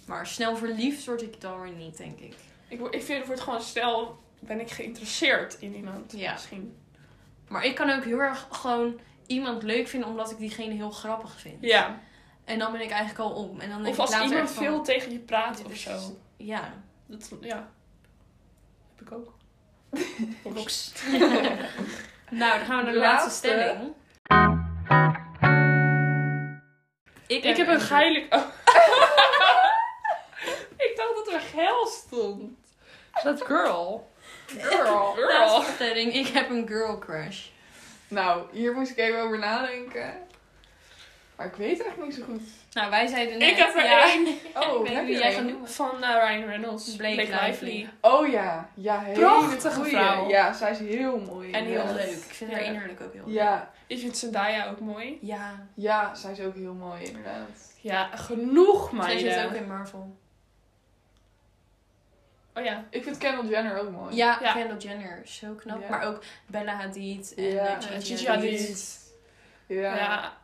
[SPEAKER 3] Maar snel verliefd word ik dan weer niet, denk ik.
[SPEAKER 1] *laughs* Ik, wo- ik vind het wordt gewoon snel... Ben ik geïnteresseerd in iemand?
[SPEAKER 3] Ja.
[SPEAKER 1] Misschien.
[SPEAKER 3] Maar ik kan ook heel erg gewoon iemand leuk vinden omdat ik diegene heel grappig vind.
[SPEAKER 1] Ja.
[SPEAKER 3] En dan ben ik eigenlijk al om. En dan denk
[SPEAKER 1] Of als
[SPEAKER 3] ik later
[SPEAKER 1] iemand
[SPEAKER 3] echt van,
[SPEAKER 1] veel tegen je praat
[SPEAKER 3] Dit
[SPEAKER 1] of
[SPEAKER 3] is-
[SPEAKER 1] zo.
[SPEAKER 3] Ja.
[SPEAKER 1] Dat, ja. Heb ik *laughs* ook.
[SPEAKER 3] nou, dan gaan we naar de
[SPEAKER 2] De
[SPEAKER 3] laatste
[SPEAKER 2] laatste.
[SPEAKER 3] stelling. Ik,
[SPEAKER 1] Ik heb een geilig... Oh. *laughs* ik dacht dat er geil stond. Dat girl.
[SPEAKER 2] Girl.
[SPEAKER 1] Girl.
[SPEAKER 3] Laatste stelling. Ik heb een girl crush.
[SPEAKER 2] Nou, hier moest ik even over nadenken. Maar ik weet echt niet zo goed.
[SPEAKER 3] Nou, wij zeiden net...
[SPEAKER 1] Ik heb er
[SPEAKER 3] ja,
[SPEAKER 1] één.
[SPEAKER 2] Oh,
[SPEAKER 3] *laughs* ik weet
[SPEAKER 2] heb
[SPEAKER 3] niet wie
[SPEAKER 2] je
[SPEAKER 3] jij
[SPEAKER 2] er
[SPEAKER 3] gaat
[SPEAKER 2] een?
[SPEAKER 3] noemen.
[SPEAKER 1] Van eh, Ryan Reynolds.
[SPEAKER 3] Blake Lively.
[SPEAKER 2] Oh ja. Ja, hele
[SPEAKER 1] Prachtige
[SPEAKER 2] goeie.
[SPEAKER 1] vrouw.
[SPEAKER 2] Ja, zij is heel mooi.
[SPEAKER 3] En heel
[SPEAKER 2] inderdaad.
[SPEAKER 3] leuk. Ik vind haar
[SPEAKER 1] Ja.
[SPEAKER 3] innerlijk ook heel leuk.
[SPEAKER 2] Ja.
[SPEAKER 1] Ik vind Zendaya ook mooi.
[SPEAKER 3] Ja.
[SPEAKER 2] Ja, zij is ook heel mooi inderdaad.
[SPEAKER 1] Ja, genoeg
[SPEAKER 3] Zij zit
[SPEAKER 1] meiden.
[SPEAKER 3] ook in Marvel.
[SPEAKER 1] Oh ja.
[SPEAKER 2] Ik vind Kendall Jenner ook mooi.
[SPEAKER 3] Ja,
[SPEAKER 1] Ja.
[SPEAKER 3] Kendall Jenner. Zo knap.
[SPEAKER 2] Ja.
[SPEAKER 3] Maar ook Bella Hadid en
[SPEAKER 2] Ja.
[SPEAKER 3] eh, Gigi,
[SPEAKER 1] Eh, Gigi
[SPEAKER 3] Hadid.
[SPEAKER 1] Hadid.
[SPEAKER 2] Ja.
[SPEAKER 1] ja.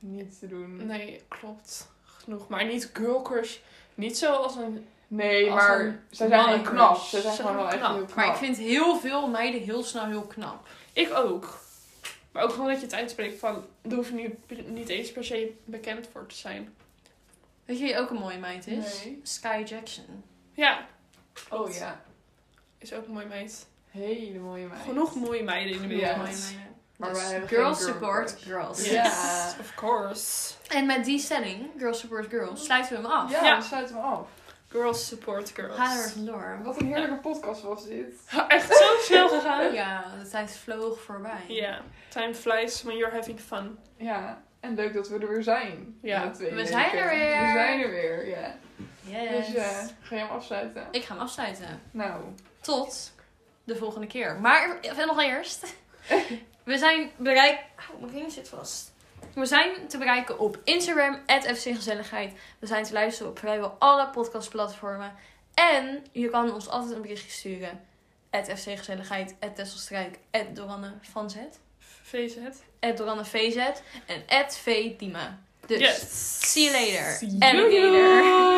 [SPEAKER 2] Niet te doen. Nee,
[SPEAKER 1] nee, klopt. Genoeg. Maar niet girl crush. Niet zo als een... Als
[SPEAKER 2] maar
[SPEAKER 1] een
[SPEAKER 2] zij zijn wel
[SPEAKER 1] mannenkrus.
[SPEAKER 2] knap. Zij zijn
[SPEAKER 1] Ze
[SPEAKER 2] gewoon
[SPEAKER 1] zijn
[SPEAKER 2] wel echt
[SPEAKER 1] knap.
[SPEAKER 2] heel knap.
[SPEAKER 3] Maar ik vind heel veel meiden heel snel heel knap.
[SPEAKER 1] Ik ook. Maar ook gewoon dat je het uitspreekt van... Er hoeft niet, niet eens per se bekend voor te zijn.
[SPEAKER 3] Weet je wie ook een mooie meid is?
[SPEAKER 2] Nee.
[SPEAKER 3] Sky Jackson.
[SPEAKER 1] Ja,
[SPEAKER 2] Oh ja.
[SPEAKER 1] is ook een mooi meid.
[SPEAKER 2] Hele mooie meid.
[SPEAKER 1] Genoeg mooie meiden in de
[SPEAKER 2] Ja.
[SPEAKER 1] wereld.
[SPEAKER 3] Mooie meiden.
[SPEAKER 2] Maar
[SPEAKER 3] Dus
[SPEAKER 2] wij hebben
[SPEAKER 3] girls
[SPEAKER 2] geen girl
[SPEAKER 3] support
[SPEAKER 2] crush.
[SPEAKER 3] girls.
[SPEAKER 1] Yes,
[SPEAKER 2] Ja.
[SPEAKER 1] of course.
[SPEAKER 3] En met die stelling, girls support girls, sluiten we hem af.
[SPEAKER 2] Ja,
[SPEAKER 1] Ja.
[SPEAKER 2] we sluiten hem af.
[SPEAKER 1] Girls support
[SPEAKER 3] Ga er
[SPEAKER 1] girls.
[SPEAKER 3] vandoor.
[SPEAKER 2] Wat een heerlijke podcast was dit.
[SPEAKER 1] Echt zo
[SPEAKER 3] *laughs*
[SPEAKER 1] snel gegaan.
[SPEAKER 3] Ja, de tijd vloog voorbij.
[SPEAKER 1] Ja, time flies when you're having fun.
[SPEAKER 2] Ja, en leuk dat we er weer zijn.
[SPEAKER 1] Ja,
[SPEAKER 2] Na twee
[SPEAKER 3] we zijn er weer.
[SPEAKER 2] We zijn er weer, ja.
[SPEAKER 3] Yes.
[SPEAKER 2] Dus eh, ga je hem afsluiten?
[SPEAKER 3] Ik ga hem afsluiten.
[SPEAKER 2] Nou,
[SPEAKER 3] Tot de volgende keer. Maar eh, nog *laughs* eerst. We zijn bereik... Oh, mijn ring zit vast. We zijn te bereiken op Instagram, @fcgezelligheid. We zijn te luisteren op vrijwel alle podcastplatformen. En je kan ons altijd een berichtje sturen. @fcgezelligheid, @tesselstruik, @doranne van Zet,
[SPEAKER 1] Face het.
[SPEAKER 3] @doranne VZ en @vdima. Dus,
[SPEAKER 1] yes.
[SPEAKER 3] see you later.
[SPEAKER 1] Dus, See you
[SPEAKER 3] Alligator.
[SPEAKER 1] later. *laughs*